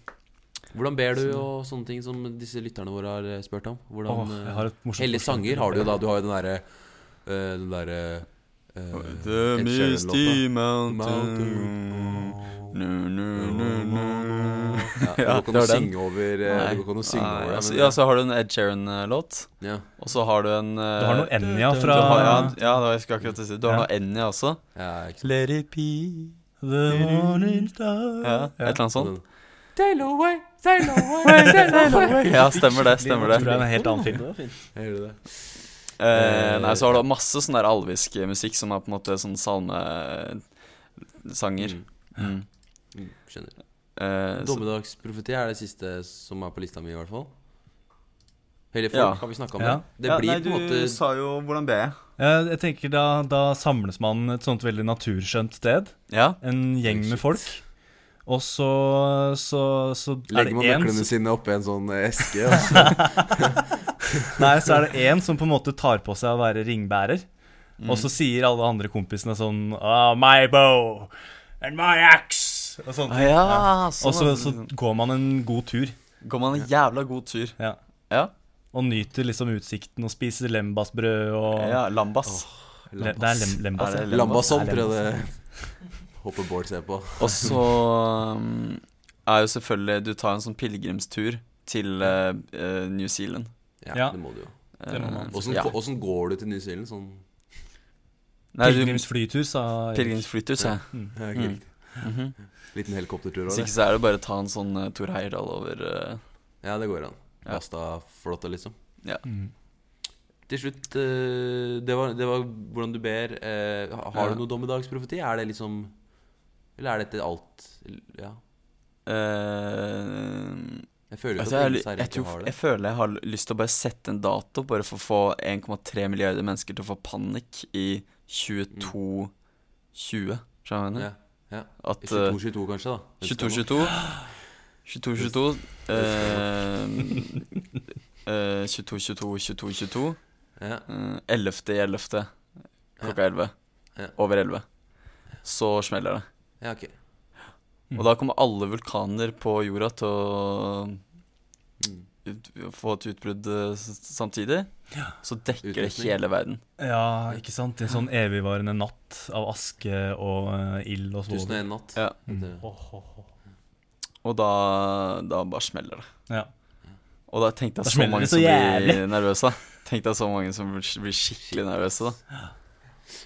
S1: Hvordan ber du, og sånne ting som disse lytterne våre har eh, spurt om? Hvordan,
S2: Åh, jeg
S1: eh,
S2: har et morsomt
S1: Hellige
S2: forslag.
S1: sanger har du jo da. Du har jo den derre eh, Den derre eh,
S3: The
S1: Ed
S3: Misty
S1: Sheeran-låta.
S3: Mountain nu, nu, nu, nu.
S1: Ja, du kan
S3: Ja, det
S1: jo
S3: var den.
S1: synge over eh,
S3: Nei.
S1: Du kan jo synge
S3: Nei,
S1: over det.
S3: altså,
S1: men-
S3: ja, så har du en Ed Sheeran-låt,
S1: ja.
S3: og så har du en eh,
S2: Du har noe Enja fra
S3: du har, ja, ja, det var- jeg skulle akkurat til å si Du har
S2: Ja.
S3: noe Enja også.
S1: ja, ikke sant.
S3: Let it be
S2: The Morning Star.
S3: Ja, et eller annet sånt.
S1: Den- Sail away, sail away, sail away.
S3: Ja, stemmer det. stemmer
S2: Jeg tror
S3: det
S2: det er en helt annen film.
S4: Det var fint
S1: Hører du det?
S3: eh, Nei, Så har du masse sånn der alvisk musikk som er på en måte sånn salmesanger.
S1: Mm.
S3: Mm.
S1: Mm, Skjønner.
S3: Eh, så,
S1: Dommedagsprofeti er det siste som er på lista mi, i hvert fall. Hellige folk
S3: Ja.
S1: har vi snakka om.
S2: Ja.
S1: Det, det blir på en måte
S3: sa jo 'Hvordan ber jeg'?
S2: Eh, Jeg tenker da, da samles man et sånt veldig naturskjønt sted.
S3: Ja.
S2: En gjeng med folk. Og så, så, så
S1: Legger
S2: er det
S1: man
S2: én
S1: nøklene
S2: som-
S1: sine oppi en sånn eske, altså. og så
S2: Nei, så er det én som på en måte tar på seg å være ringbærer. Og
S1: Mm.
S2: så sier alle andre kompisene sånn ah, My bow and my axe og sånt.
S3: Ah, ja, sånn,
S2: Og så, så
S3: altså.
S2: går man en god tur.
S3: går man en jævla god tur.
S2: Ja.
S3: Ja.
S2: Og nyter liksom utsikten og spiser lembasbrød og
S3: ja Lambas.
S2: Le, Det er lem, lembas,
S3: Er det
S2: ja.
S1: Lambason,
S2: Nei,
S1: tror jeg det håper Bård ser på.
S3: Og så um, er jo selvfølgelig Du tar en sånn pilegrimstur til eh, eh, New Zealand.
S1: Ja,
S2: Ja.
S1: det må du jo.
S2: Det må man.
S3: Eh,
S1: Åssen
S3: ja.
S1: åssen går du til New Zealand? Sånn
S3: Nei, du-
S2: Pilegrimsflytur, sa Erik.
S3: Pilegrimsflytur, sa jeg.
S1: ja, ikke
S3: Mm.
S1: riktig. eh, Liten helikoptertur
S3: Hvis
S1: òg,
S3: ikke så er det bare å ta en sånn uh, Tor Heyerdahl over eh,
S1: Ja, det går an.
S3: Ja.
S1: Basta-flotta, liksom.
S3: Ja.
S2: Mm.
S1: Til slutt, eh, det var, det var hvordan du ber. Eh, ha- Har
S3: Ja.
S1: du noe dommedagsprofeti? Er det liksom Eller er dette alt Ja.
S3: eh,
S1: Jeg føler jo
S3: altså,
S1: ikke at
S3: jeg,
S1: Ringenes
S3: jeg,
S1: herre ikke
S3: tror,
S1: har
S3: jeg
S1: det.
S3: føler jeg har lyst til å bare sette en dato, bare for å få 1,3 milliarder mennesker til å få panikk i 22.20. Skjønner du hva jeg mener?
S1: Ja. ja.
S3: At eh,
S1: 22-22, kanskje, da.
S3: 22-22 eh, 22-22 22-22-22
S1: Ja.
S3: Mm, 11. i 11. klokka 11.
S1: Ja.
S3: Over 11. Så smeller det.
S1: Ja, ok.
S3: Og da kommer alle vulkaner på jorda til å
S1: Mm.
S3: ut, få et utbrudd eh, s- samtidig. Så dekker det
S1: Utrustning.
S3: hele verden.
S2: Ja, ikke sant? En sånn evigvarende natt av aske og eh, ild og
S1: Tusen og
S2: svovel.
S1: en natt.
S3: Ja.
S1: Mm.
S3: Og da, da bare smeller det.
S2: Ja.
S3: Og da tenkte
S2: Da
S3: jeg så
S2: smeller
S3: mange
S2: det så
S3: som blir
S2: jævlig.
S3: nervøse. da. Tenkte jeg så mange som blir blir skikkelig nervøse. da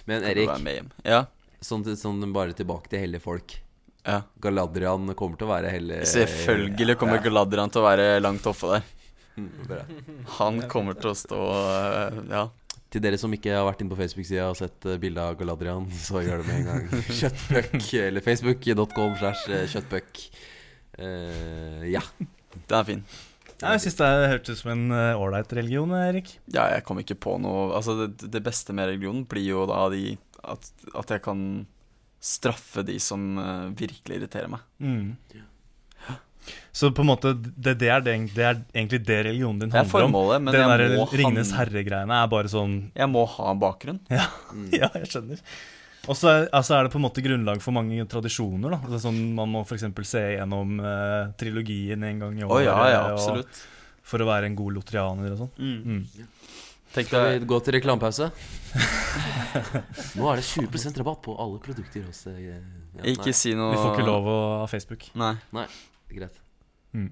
S1: Men
S3: Kan du være
S1: Erik,
S3: med hjem? Ja,
S1: sånn, sånn bare tilbake til hellige folk.
S3: ja.
S1: Galadrian kommer til å være hele
S3: Selvfølgelig kommer Galadrian til å være langt oppe der.
S1: Mm, bra.
S3: Han kommer til å stå eh, Ja.
S1: Til dere som ikke har vært inne på Facebook-sida og sett eh, bilde av Galadrian, så gjør det med en gang. Kjøttpuck, eller facebook.com slash eh, kjøttpuck. Eh, ja.
S3: Den er fin.
S2: Nei, Jeg syns det hørtes ut som en eh, ålreit religion, Erik.
S3: Ja, jeg kom ikke på noe Altså, det, det beste med religionen blir jo da de at, at jeg kan straffe de som eh, virkelig irriterer meg.
S2: Mm. Så på en måte, det, det, er det, det er egentlig det religionen din
S3: Det er
S2: handler om.
S3: formålet, men
S2: Den
S3: jeg
S2: der
S3: må,
S2: Ringenes
S3: han-
S2: herre-greiene er bare sånn
S3: jeg må ha en bakgrunn. Mm.
S2: Ja, jeg skjønner. Og så er, altså er det på en måte grunnlag for mange tradisjoner. da det er sånn Man må f.eks. se gjennom eh, trilogien en gang i
S3: Å
S2: året
S3: ja, ja,
S2: og-
S3: absolutt.
S2: for å være en god lotrianer og sånn. Mm.
S3: Tenk
S1: Skal
S3: deg
S1: vi gå til reklamepause? Nå er det 20 rabatt på alle produkter hos eh, ja, nei,
S3: Ikke si noe
S2: Vi får ikke lov å ha Facebook.
S3: Nei.
S1: Greit.
S2: Mm.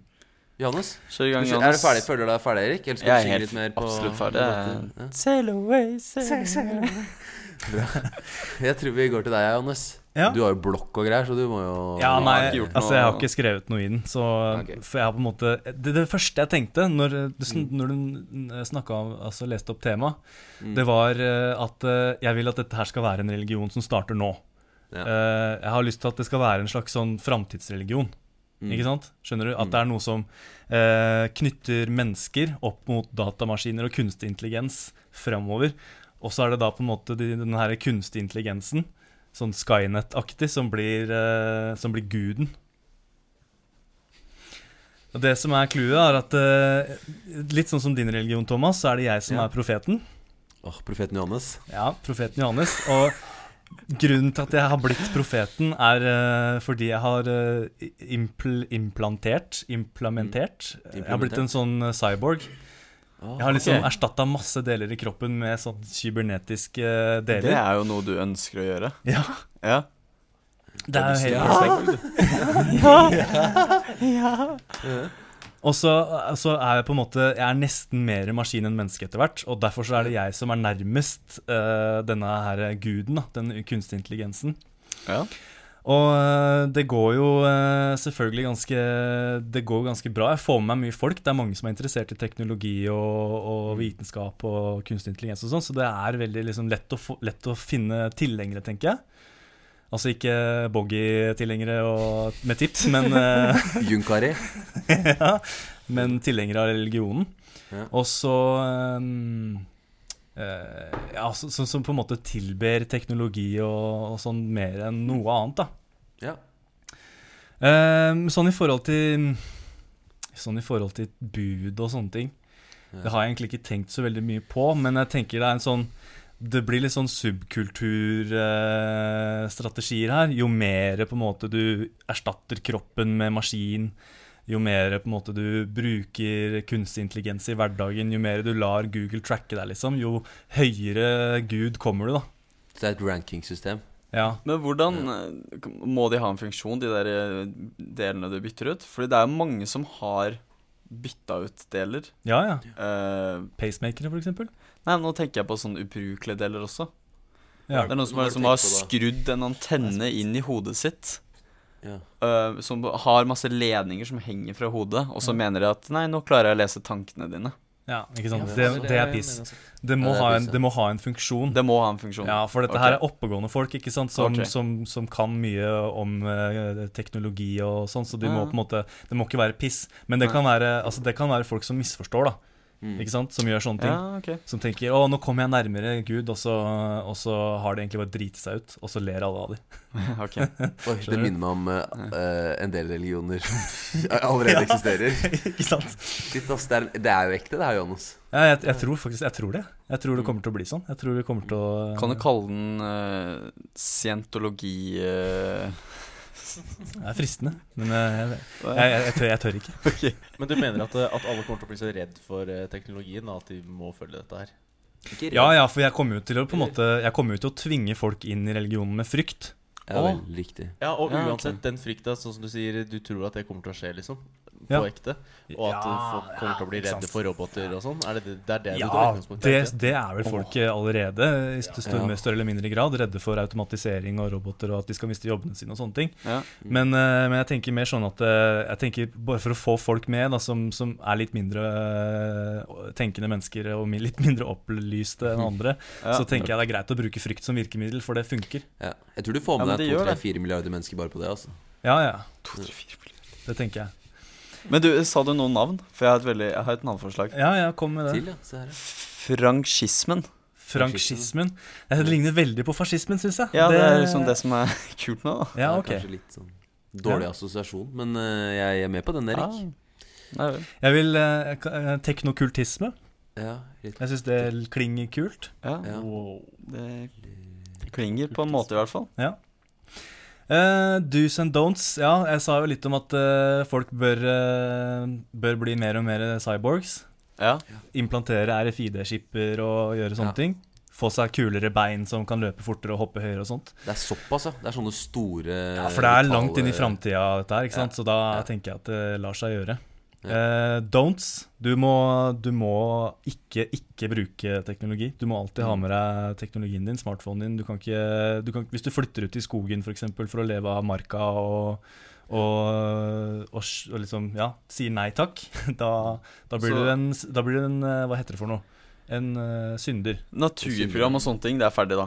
S1: Johannes,
S3: Kjør i gang,
S1: er
S3: Johannes.
S1: du ferdig? Føler du deg ferdig, Erik? Eller skal
S3: Jeg
S1: du
S3: er
S1: synge
S3: helt
S1: litt mer på
S3: absolutt ferdig.
S1: på dette?
S3: Sail away, sail away.
S1: Ja. Jeg tror vi går til deg, Johannes.
S2: Ja.
S1: Du har jo blokk og greier, så du må jo
S2: Ja,
S3: Du har
S2: nei,
S3: ikke gjort
S2: altså jeg har
S3: noe-
S2: ikke skrevet noe i den. Så,
S1: Ok.
S2: For jeg har på en måte Det, det første jeg tenkte når du,
S3: Mm.
S2: sn- når du snakka om Altså leste opp temaet,
S3: Mm.
S2: det var eh, at eh, jeg vil at dette her skal være en religion som starter nå.
S1: Ja.
S2: Eh, Jeg har lyst til at det skal være en slags sånn framtidsreligion.
S3: Mm.
S2: Ikke sant? Skjønner du? At det er noe som eh, knytter mennesker opp mot datamaskiner og kunstig intelligens framover. Og så er det da på en måte de- den her kunstig intelligensen, sånn Skynet-aktig, som, blir, eh, som blir guden. Og det som er clouet, er at eh, litt sånn som din religion, Thomas, så er det jeg som
S1: Ja.
S2: er profeten.
S1: Åh, profeten Johannes.
S2: Ja, profeten Johannes. Og grunnen til at jeg har blitt profeten, er eh, fordi jeg har eh, impl implantert Implementert. Jeg har blitt en sånn eh, cyborg.
S1: Ah,
S2: Jeg har liksom
S3: ok.
S2: erstattet erstatta masse deler i kroppen med sånn kybernetiske eh,
S3: Det
S2: deler.
S3: er jo noe du ønsker å gjøre.
S2: Ja,
S3: Ja.
S2: det er jo helt Og så, eh, så er jeg på en måte Jeg er nesten mer maskin enn menneske etter hvert. Og derfor så er det jeg som er nærmest eh, denne her guden, da, den kunstige intelligensen.
S3: ja.
S2: Og eh, det går jo eh, selvfølgelig ganske Det går ganske bra. Jeg får med meg mye folk. Det er mange som er interessert i teknologi og, og vitenskap og kunstig intelligens og sånn, så det er veldig liksom, lett, å få, lett å finne tilhengere, tenker jeg. Altså ikke boggy-tilhengere og- med tips, men eh,
S1: Junkari.
S2: ja, men tilhengere av religionen.
S1: Ja.
S2: Og så um, eh, Ja, så- så- som på en måte tilber teknologi og, og sånn mer enn noe annet, da.
S1: Ja.
S2: Ehm, sånn i forhold til Sånn i forhold til bud og sånne ting. Det har jeg egentlig ikke tenkt så veldig mye på, men jeg tenker det er en sånn det blir litt sånn subkulturstrategier her. Jo mer på en måte du erstatter kroppen med maskin, jo mer på en måte du bruker kunstig intelligens i hverdagen, jo mer du lar Google tracke deg, liksom, jo høyere gud kommer du, da.
S1: Så det er et rankingsystem.
S2: Ja.
S3: Men hvordan eh, må de ha en funksjon, de der eh, delene du bytter ut? Fordi det er jo mange som har bytta ut deler.
S2: ja, ja.
S3: Eh,
S2: Pacemakere, for eksempel.
S3: nei, nå tenker jeg på sånne ubrukelige deler også.
S2: Ja.
S3: Det er noen som,
S1: Hva
S3: er,
S1: har du
S3: som har
S1: tenkt på
S3: skrudd en antenne inn i hodet sitt.
S1: Ja.
S3: eh, som har masse ledninger som henger fra hodet, og så mener de at 'nei, nå klarer jeg å lese tankene dine'.
S2: ja, ikke sant. Det, det er piss. Det
S1: Ja,
S2: må,
S1: det er
S2: ha en,
S1: piss, ja.
S2: det må ha en funksjon.
S3: Det må ha en funksjon.
S2: Ja, for dette
S3: Ok.
S2: her er oppegående folk ikke sant? Som,
S3: Ok.
S2: som, som kan mye om eh, teknologi og sånn, så de må
S3: Ja.
S2: på en måte, det må ikke være piss. Men det
S3: Nei.
S2: kan være, altså, det kan være folk som misforstår, da. ikke sant? som gjør sånne ting.
S3: Mm. Ja, ok.
S2: Som tenker 'Å, nå kommer jeg nærmere Gud', og så, og så har det egentlig bare driti seg ut. Og så ler alle av dem.
S3: ok.
S1: Oi, det minner meg om eh, eh, en del religioner som allerede eksisterer.
S2: ikke sant?
S1: Litt, ass, det, er, det er jo ekte, det her, Johannes.
S2: Ja, jeg, jeg tror faktisk jeg tror det. Jeg tror det kommer til å bli sånn. Jeg tror det kommer til å
S3: Mm. Kan du kalle den eh, scientologi... eh,
S2: Det er fristende, men eh, jeg, jeg, jeg, jeg, tør, jeg tør ikke.
S4: Men du mener at, eh, at alle kommer til å bli så redd for eh, teknologien da, at de må følge dette her?
S2: Ja ja, for jeg kommer jo til å på en måte Jeg kommer jo til å tvinge folk inn i religionen med frykt.
S1: Ja,
S3: Å.
S1: veldig riktig.
S4: Ja, og
S3: Ja, ok.
S4: uansett, den frykta, sånn som du sier, du tror at det kommer til å skje, liksom.
S2: Ja.
S4: På ekte. Og at eh,
S2: Ja,
S4: folk kommer til å bli
S2: ja, ikke
S4: redde
S2: sant.
S4: for roboter og sånn. Er det, det er det du
S2: Ja,
S4: tar utgangspunkt i?
S2: det,
S4: er det ikke?
S2: det er vel folk eh, allerede, i st-
S1: Ja.
S2: større, med større eller mindre grad, redde for automatisering og roboter og at de skal miste jobbene sine og sånne ting.
S3: Ja.
S4: Mm.
S2: Men, eh, men jeg tenker mer sånn at eh, jeg tenker bare for å få folk med, da, som, som er litt mindre eh, tenkende mennesker og mi- litt mindre opplyste enn andre,
S3: Ja.
S2: så tenker jeg det er greit å bruke frykt som virkemiddel, for det funker.
S1: Ja. Jeg tror du får
S3: Ja,
S1: med
S3: men det
S1: deg
S3: gjør det.
S1: 2-3-4 milliarder mennesker bare på det. altså
S2: Ja, ja.
S3: To, tre, fire milliarder.
S2: Det tenker jeg.
S3: Men du, sa du noen navn? For jeg har et, veldig, jeg har et navnforslag.
S2: Ja, ja, kom med det.
S1: Til, ja. Se her, ja.
S3: Franskismen.
S2: Frankismen. Det ligner veldig på fascismen, syns jeg.
S3: Ja, det, er liksom det som er kult nå, da.
S2: Ja,
S1: Det er
S2: ok.
S1: Kanskje litt sånn dårlig assosiasjon, men eh, jeg er med på den, Erik.
S2: Ah.
S3: Ja. Ah. Nei, vel.
S2: Jeg vil eh, ka- eh, Teknokultisme.
S1: Ja, litt.
S2: Jeg syns det klinger kult.
S3: ja.
S1: Ja.
S3: Det klinger på en måte, i hvert fall.
S2: Eh, do's and don'ts. Ja, jeg sa jo litt om at eh, folk bør, eh, bør bli mer og mer cyborgs.
S3: Ja.
S2: Implantere RFID-skipper og gjøre
S1: Ja.
S2: sånne ting. Få seg kulere bein som kan løpe fortere og hoppe høyere og sånt.
S1: Det er såpass, ja. Det er sånne store
S2: Ja, For det er
S1: lokale-
S2: langt inn i framtida, dette her, ikke
S1: Ja.
S2: sant? så da
S1: Ja.
S2: tenker jeg at det lar seg gjøre.
S1: Ja.
S2: Eh, don'ts. Du må, du må ikke, ikke bruke teknologi. Du må alltid ha med deg teknologien din, smartphonen din. Du kan ikke, du kan, hvis du flytter ut i skogen for, eksempel, for å leve av marka og, og, og, s- og liksom, ja, sier nei takk, da, da, blir
S3: Så-
S2: du en, s- da blir du en eh, Hva heter det for noe? En eh, synder.
S3: Naturprogram og sånne ting, det er ferdig, da.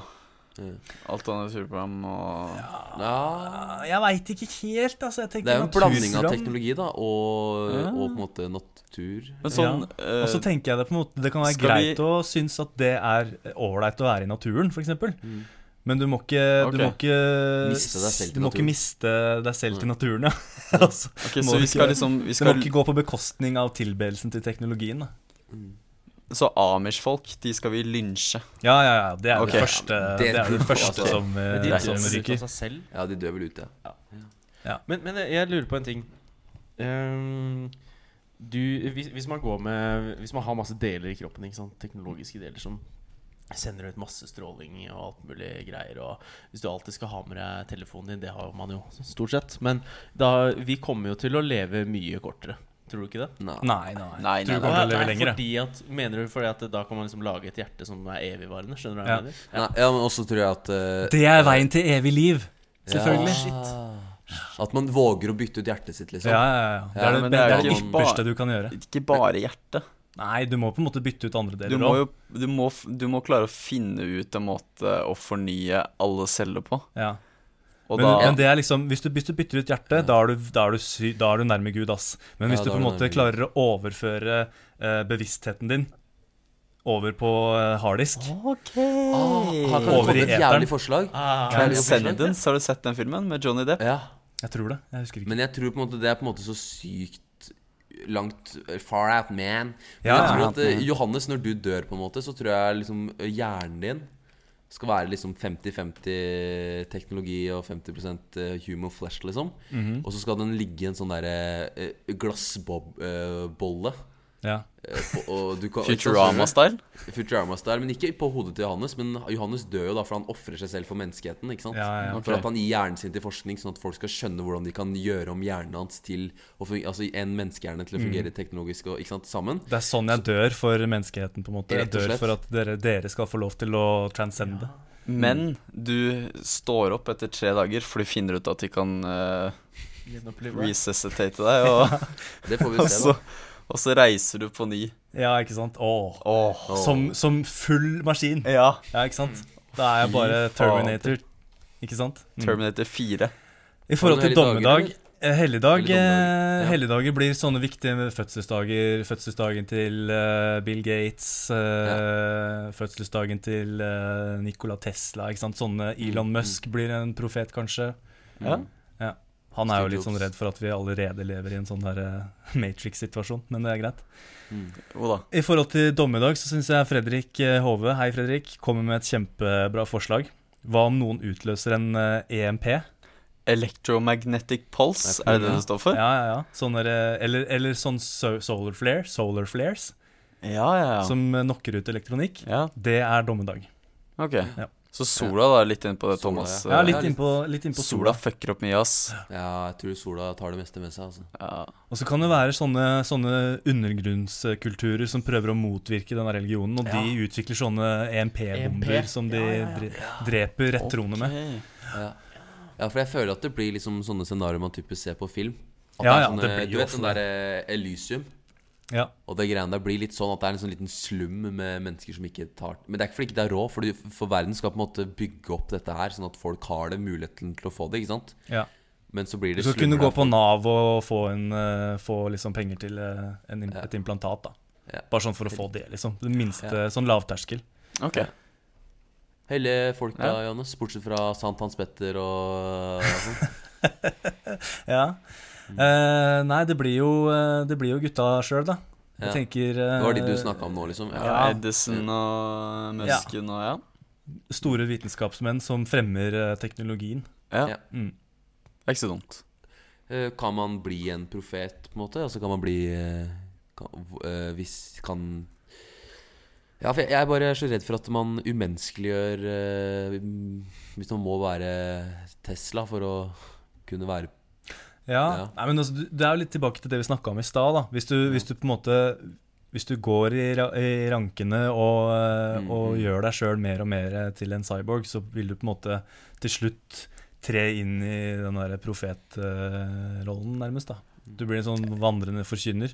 S1: Ja.
S3: Alt av naturprogram og
S1: Ja,
S2: Ah, Jeg veit ikke helt, altså. Jeg
S1: det er jo en blanding av teknologi da og,
S3: Ja.
S1: og på en måte natur.
S3: Men sånn eh,
S2: Og så tenker jeg det på en måte Det kan være
S3: Skal
S2: greit
S3: vi-
S2: å synes at det er ålreit å være i naturen, f.eks. Mm. Men du må ikke,
S3: Ok.
S2: du må ikke
S1: Miste deg selv til
S2: Du må ikke
S1: naturen.
S2: miste deg selv til naturen, ja. altså,
S3: ok,
S2: må
S3: så
S2: vi
S3: vi skal
S2: ikke-
S3: liksom vi
S2: det må
S3: skal,
S2: ikke gå på bekostning av tilbedelsen til teknologien. Da.
S3: Så Amish-folk, de skal vi lynsje.
S2: Ja, ja, ja. Det er
S3: Ok.
S2: det første, det
S1: Det-
S2: er det første
S1: Ok.
S2: som, eh,
S4: Men
S1: Reiser
S4: de dør
S2: som
S4: vel ut
S2: ryker.
S4: sånn av seg selv?
S1: Ja, de dør vel ute. Ja.
S4: Men, men eh, jeg- jeg lurer på en ting. Ehm, du, hvis, hvis man går med Hvis man har masse deler i kroppen, ikke sant? teknologiske deler som sender ut masse stråling og alt mulig greier Og Hvis du alltid skal ha med deg telefonen din, det har man jo stort sett. Men da, vi kommer jo til å leve mye kortere. Tror du ikke det?
S1: Nei.
S2: Nei, nei.
S3: Nei,
S2: Tror
S3: nei,
S2: du kommer til å
S4: Nei,
S2: leve lenger, jeg.
S4: fordi at, mener du fordi at da kan man liksom lage et hjerte som er evigvarende? Skjønner du hva jeg
S2: Ja.
S4: mener?
S1: Nei, ja, men også tror jeg at eh,
S2: Det er veien til evig liv. Selvfølgelig.
S1: Ja. At man våger å bytte ut hjertet sitt, liksom.
S2: Ja, ja, ja. Det
S1: Ja,
S2: er det,
S3: men
S2: det,
S3: det er
S2: er
S3: jo
S2: det
S3: ikke
S2: ypperste
S3: bare-
S2: du kan gjøre.
S3: Ikke bare hjertet.
S2: Nei, du må på en måte bytte ut andre
S3: Du
S2: deler
S3: må
S2: òg.
S3: jo du må, f- du må klare å finne ut en måte å fornye alle celler på.
S2: Ja.
S3: Og
S2: Men,
S3: da
S2: men det er liksom, hvis du, hvis du bytter ut hjertet, da, er du, da, er du sy, da er du nærme Gud, ass. Men hvis
S1: Ja,
S2: du
S1: da
S2: på
S1: er
S2: en
S1: du
S2: måte
S1: nærme Gud.
S2: klarer å overføre eh, bevisstheten din over på eh, harddisk
S3: OK!
S1: Ah, her kan det
S2: Over
S1: komme
S2: i
S1: et
S2: eteren.
S1: jævlig forslag.
S4: Ah,
S1: Kan jeg lese forslag?
S3: Transcendence, har du sett den filmen med Johnny Depp?
S1: Ja.
S2: Jeg tror det. Jeg husker ikke.
S1: Men jeg tror på en måte det er på en måte så sykt langt Far out, man. Men
S2: Ja,
S1: jeg tror
S3: ja.
S1: at eh, Johannes, når du dør, på en måte, så tror jeg liksom eh, hjernen din skal være liksom 50-50 teknologi og 50 eh, human flesh, liksom. Og så skal den ligge i en sånn derre glassbolle.
S2: Ja.
S1: eh,
S3: Futurama-style?
S1: Futurama-style. Men ikke på hodet til Johannes. Men Johannes dør jo da, for han ofrer seg selv for menneskeheten. ikke sant?
S2: Ja, ja, ja.
S1: For at han gir hjernen sin til forskning, sånn at folk skal skjønne hvordan de kan gjøre om hjernen hans til å fungere, altså en menneskehjerne til å fungere
S2: Mm.
S1: teknologisk og ikke sant, sammen.
S2: Det er sånn jeg dør for menneskeheten, på en måte. Jeg
S1: Rett og
S2: dør
S1: slett.
S2: for at dere, dere skal få lov til å transcende.
S3: Men du står opp etter tre dager, for du finner ut at de kan eh, resuscitate deg, og,
S1: Det får vi
S3: og,
S1: se,
S3: så,
S2: Altså,
S1: da.
S3: og så reiser du på ny.
S2: Ja, ikke sant? Åh.
S3: Åh.
S2: Som, som full maskin.
S3: Ja.
S2: Ja, ikke sant? Da er jeg bare
S3: Fy fader.
S2: Terminator. Ikke sant? Mm.
S3: Terminator 4.
S2: I forhold
S1: Har
S2: til
S1: du noen hellige dager,
S2: dommedag
S1: eller?
S2: Eh, Helligdag,
S1: Helligdommer,
S2: eh,
S1: ja.
S2: helligdager blir sånne viktige med fødselsdager. Fødselsdagen til eh, Bill Gates, eh, fødselsdagen til eh, Nikola Tesla. Ikke sant? Sånne
S1: Mm,
S2: Elon Musk blir en profet, kanskje.
S3: Ja.
S2: Ja. Han er jo
S1: Steve
S2: litt sånn
S1: Jobs.
S2: redd for at vi allerede lever i en sånn der eh, Matrix-situasjon, men det er greit.
S1: Mm.
S3: Jo da.
S2: I forhold til dommedag så syns jeg Fredrik eh, Hove, hei Fredrik, kommer med et kjempebra forslag. Hva om noen utløser en eh, EMP?
S3: Electromagnetic pulse, er det det det står for?
S2: Ja, ja, ja. Sånne, eh, eller, eller sånn so solar flare, solar flares,
S3: Ja, ja, ja.
S2: som eh, knocker ut elektronikk.
S3: ja.
S2: Det er dommedag.
S3: Ok.
S2: Ja.
S3: Så sola da er litt inne på det,
S1: Sola,
S3: Thomas. Eh,
S1: ja.
S2: Ja,
S1: det
S2: litt
S1: er litt-
S2: innpå litt inn på sola.
S3: Sola fucker opp mye, ass.
S1: Ja, jeg tror sola tar det meste med seg, altså.
S3: Ja.
S2: Og så kan det være sånne, sånne undergrunnskulturer som prøver å motvirke denne religionen, og de utvikler sånne EMP-bomber
S4: EMP.
S2: som de dre- dreper rettroende med.
S3: Ok.
S1: Ja. ja, for jeg føler at det blir liksom sånne scenarioer man typisk ser på film. At
S2: Ja,
S1: det er
S2: ja,
S1: sånne,
S2: det blir
S1: du
S2: jo
S1: vet
S2: ofte
S1: sånn der eh, Elysium
S2: Ja.
S1: og det greiene der blir litt sånn at det er en sånn liten slum med mennesker som ikke tar Men det er ikke fordi ikke det er råd, for, for verden skal på en måte bygge opp dette her, sånn at folk har det muligheten til å få det, ikke sant?
S2: ja.
S1: Men så blir
S2: Du
S1: det
S2: skal
S1: slummer
S2: kunne gå
S1: der
S2: på
S1: folk-
S2: Nav og få, en, eh, få liksom penger til eh, en, im-
S1: Ja.
S2: et implantat, da.
S1: Ja.
S2: Bare sånn for å få det, liksom. Det minste, sånn lavterskel.
S3: Ok.
S1: Hele folk da,
S3: Ja.
S1: Johannes, bortsett fra Sant Hans Petter og sånn.
S2: Ja. Eh, nei, det blir jo, eh, det blir jo gutta sjøl, da. Jeg
S1: Ja.
S2: tenker
S1: Det
S2: eh,
S1: var de du snakka om nå, liksom?
S3: Ja,
S1: Ja.
S2: Ja.
S3: Edison og Musken og ja.
S2: Store vitenskapsmenn som fremmer eh, teknologien.
S1: Ja.
S3: ja.
S2: Mm.
S3: Det er ikke så dumt.
S1: Eh, Kan man bli en profet, på en måte? Altså kan man bli eh, kan, v- eh, Hvis kan Ja, for jeg, jeg er bare så redd for at man umenneskeliggjør eh, m- Hvis man må være Tesla for å kunne være
S2: Ja,
S1: Ja.
S2: Nei, men altså, du- det er jo litt tilbake til det vi snakka om i stad. da. Hvis du, hvis du på en måte Hvis du går i, ra- i rankene og, eh,
S1: Mm,
S2: og gjør deg sjøl mer og mer eh, til en cyborg, så vil du på en måte til slutt tre inn i den derre profetrollen, nærmest. da. Du blir en sånn vandrende forkynner.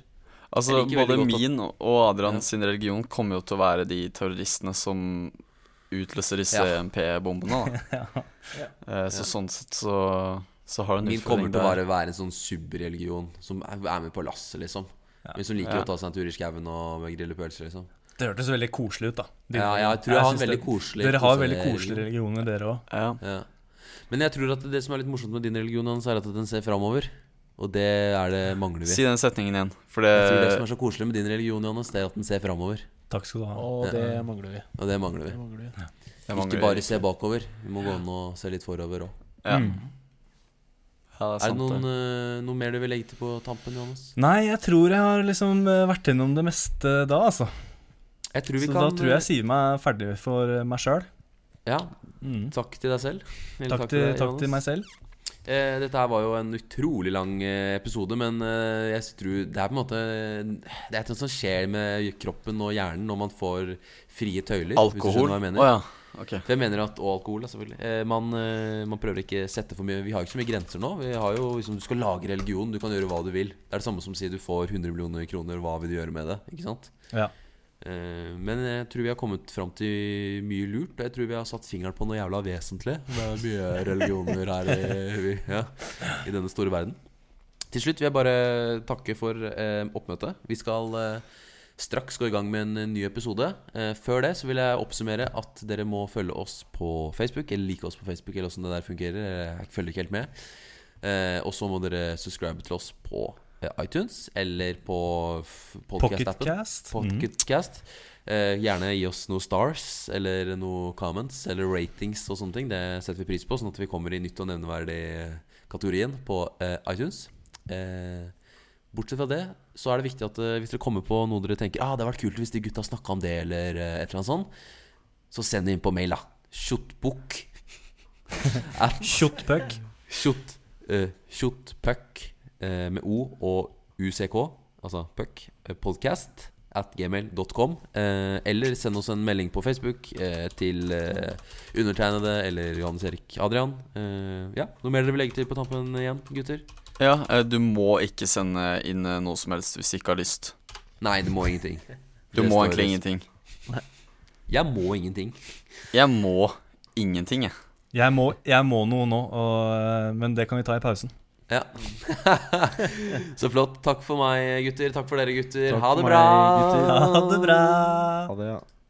S3: Altså,
S1: Jeg liker
S3: både
S1: veldig godt at-
S3: min og Adrian
S1: Ja.
S3: sin religion kommer jo til å være de terroristene som utløser disse
S1: Ja.
S3: EMP-bombene, da. Eh, Så sånn sett så, så har du en
S1: Min kommer
S3: utfordring
S1: til å
S3: der.
S1: være, være en sånn subreligion som er, er med på lasset, liksom. Men som liker
S3: Ja.
S1: å ta seg en tur i skauen og grille pølser, liksom.
S2: Det hørtes veldig koselig ut, da. Din-
S1: Ja, jeg tror jeg har en
S2: syns det-
S1: veldig koselig
S2: Dere har
S1: koselig
S2: veldig koselige
S1: religion.
S2: religioner, dere òg.
S3: Ja.
S1: Ja. Men jeg tror at det som er litt morsomt med din religion, Hans, er at den ser framover. Og det er det mangler vi.
S3: Si eh, den setningen igjen, for
S1: Jeg tror det som
S3: det
S1: er så koselig med din religion, Johannes, det er at den ser framover.
S2: Takk skal du ha.
S4: Og det mangler vi.
S1: Og det mangler vi.
S4: Det mangler vi.
S3: jeg mangler-
S1: Ikke bare se bakover. Vi må gå an og se litt forover òg.
S3: Ja.
S2: Mm.
S3: ja, det er
S1: Er det
S3: sant,
S1: noen,
S3: det.
S1: eh, noe mer du vil legge til på tampen, Johannes?
S2: Nei, jeg tror jeg har liksom eh, vært gjennom det meste da, altså.
S1: Jeg tror vi
S2: Så
S1: kan eh,
S2: da tror jeg jeg sier meg ferdig for eh, meg sjøl.
S1: Ja,
S2: Mm.
S1: takk til deg selv. Eller
S2: Takk, til,
S1: deg,
S2: takk til
S1: Johannes.
S2: meg selv.
S1: Eh, dette her var jo en utrolig lang eh, episode, men eh, jeg tror det er på en måte Det er noe som skjer med kroppen og hjernen når man får frie tøyler. hvis du skjønner
S3: Alkohol?
S1: hva jeg
S3: Å
S1: mener.
S3: ja. Ok.
S1: For jeg mener at, Og alkohol, da, selvfølgelig. Eh, man, eh, man prøver ikke sette for mye Vi har jo ikke så mye grenser nå. Vi har jo liksom, Du skal lage religion, du kan gjøre hva du vil. Det er det samme som å si du får 100 millioner kroner, hva vil du gjøre med det? Ikke sant?
S2: Ja.
S1: Eh, men jeg tror vi har kommet fram til mye lurt, og jeg tror vi har satt fingeren på noe jævla vesentlig. Det er mye religioner her i, ja, i denne store verden. Til slutt vil jeg bare takke for eh, oppmøtet. Vi skal eh, straks gå i gang med en ny episode. Eh, før det så vil jeg oppsummere at dere må følge oss på Facebook, eller like oss på Facebook, eller åssen det der fungerer. Jeg følger ikke helt med. Eh, og så må dere subscribe til oss på eh, iTunes eller på f- podcast-appen.
S2: Pocketcast. Mm.
S1: Pocketcast. Eh, gjerne gi oss noen stars eller noen comments eller ratings og sånne ting. Det setter vi pris på, sånn at vi kommer i nytt og nevneverdig-kategorien på eh, iTunes. Eh, bortsett fra det, så er det viktig at eh, hvis dere kommer på noe dere tenker ah, det hadde vært kult hvis de gutta snakka om det, eller eh, et eller annet sånt, så send det inn på mail, da. Kjottbukk. At
S2: Kjottpuck.
S1: Kjott uh, Kjottpuck eh, med O og UCK, altså puck, eh, podcast at gmail.com. eh, eller send oss en melding på Facebook eh, til eh, undertegnede eller Johannes Erik Adrian. Eh, ja, Noe mer dere vil legge til på tampen igjen, gutter?
S3: Ja, eh, du må ikke sende inn eh, noe som helst hvis du ikke har lyst.
S1: Nei, det må ingenting.
S3: Du
S1: Det
S3: må
S1: står det.
S3: egentlig ingenting.
S1: Jeg må ingenting.
S3: Jeg må ingenting, jeg.
S2: Jeg må, jeg må noe nå, og, eh, men det kan vi ta i pausen.
S1: Ja. Så flott. Takk for meg, gutter. Takk for dere, gutter.
S4: Takk
S1: ha
S4: for
S1: det
S4: meg,
S1: bra.
S4: gutter.
S2: Ha det bra.
S4: Ha det, ja.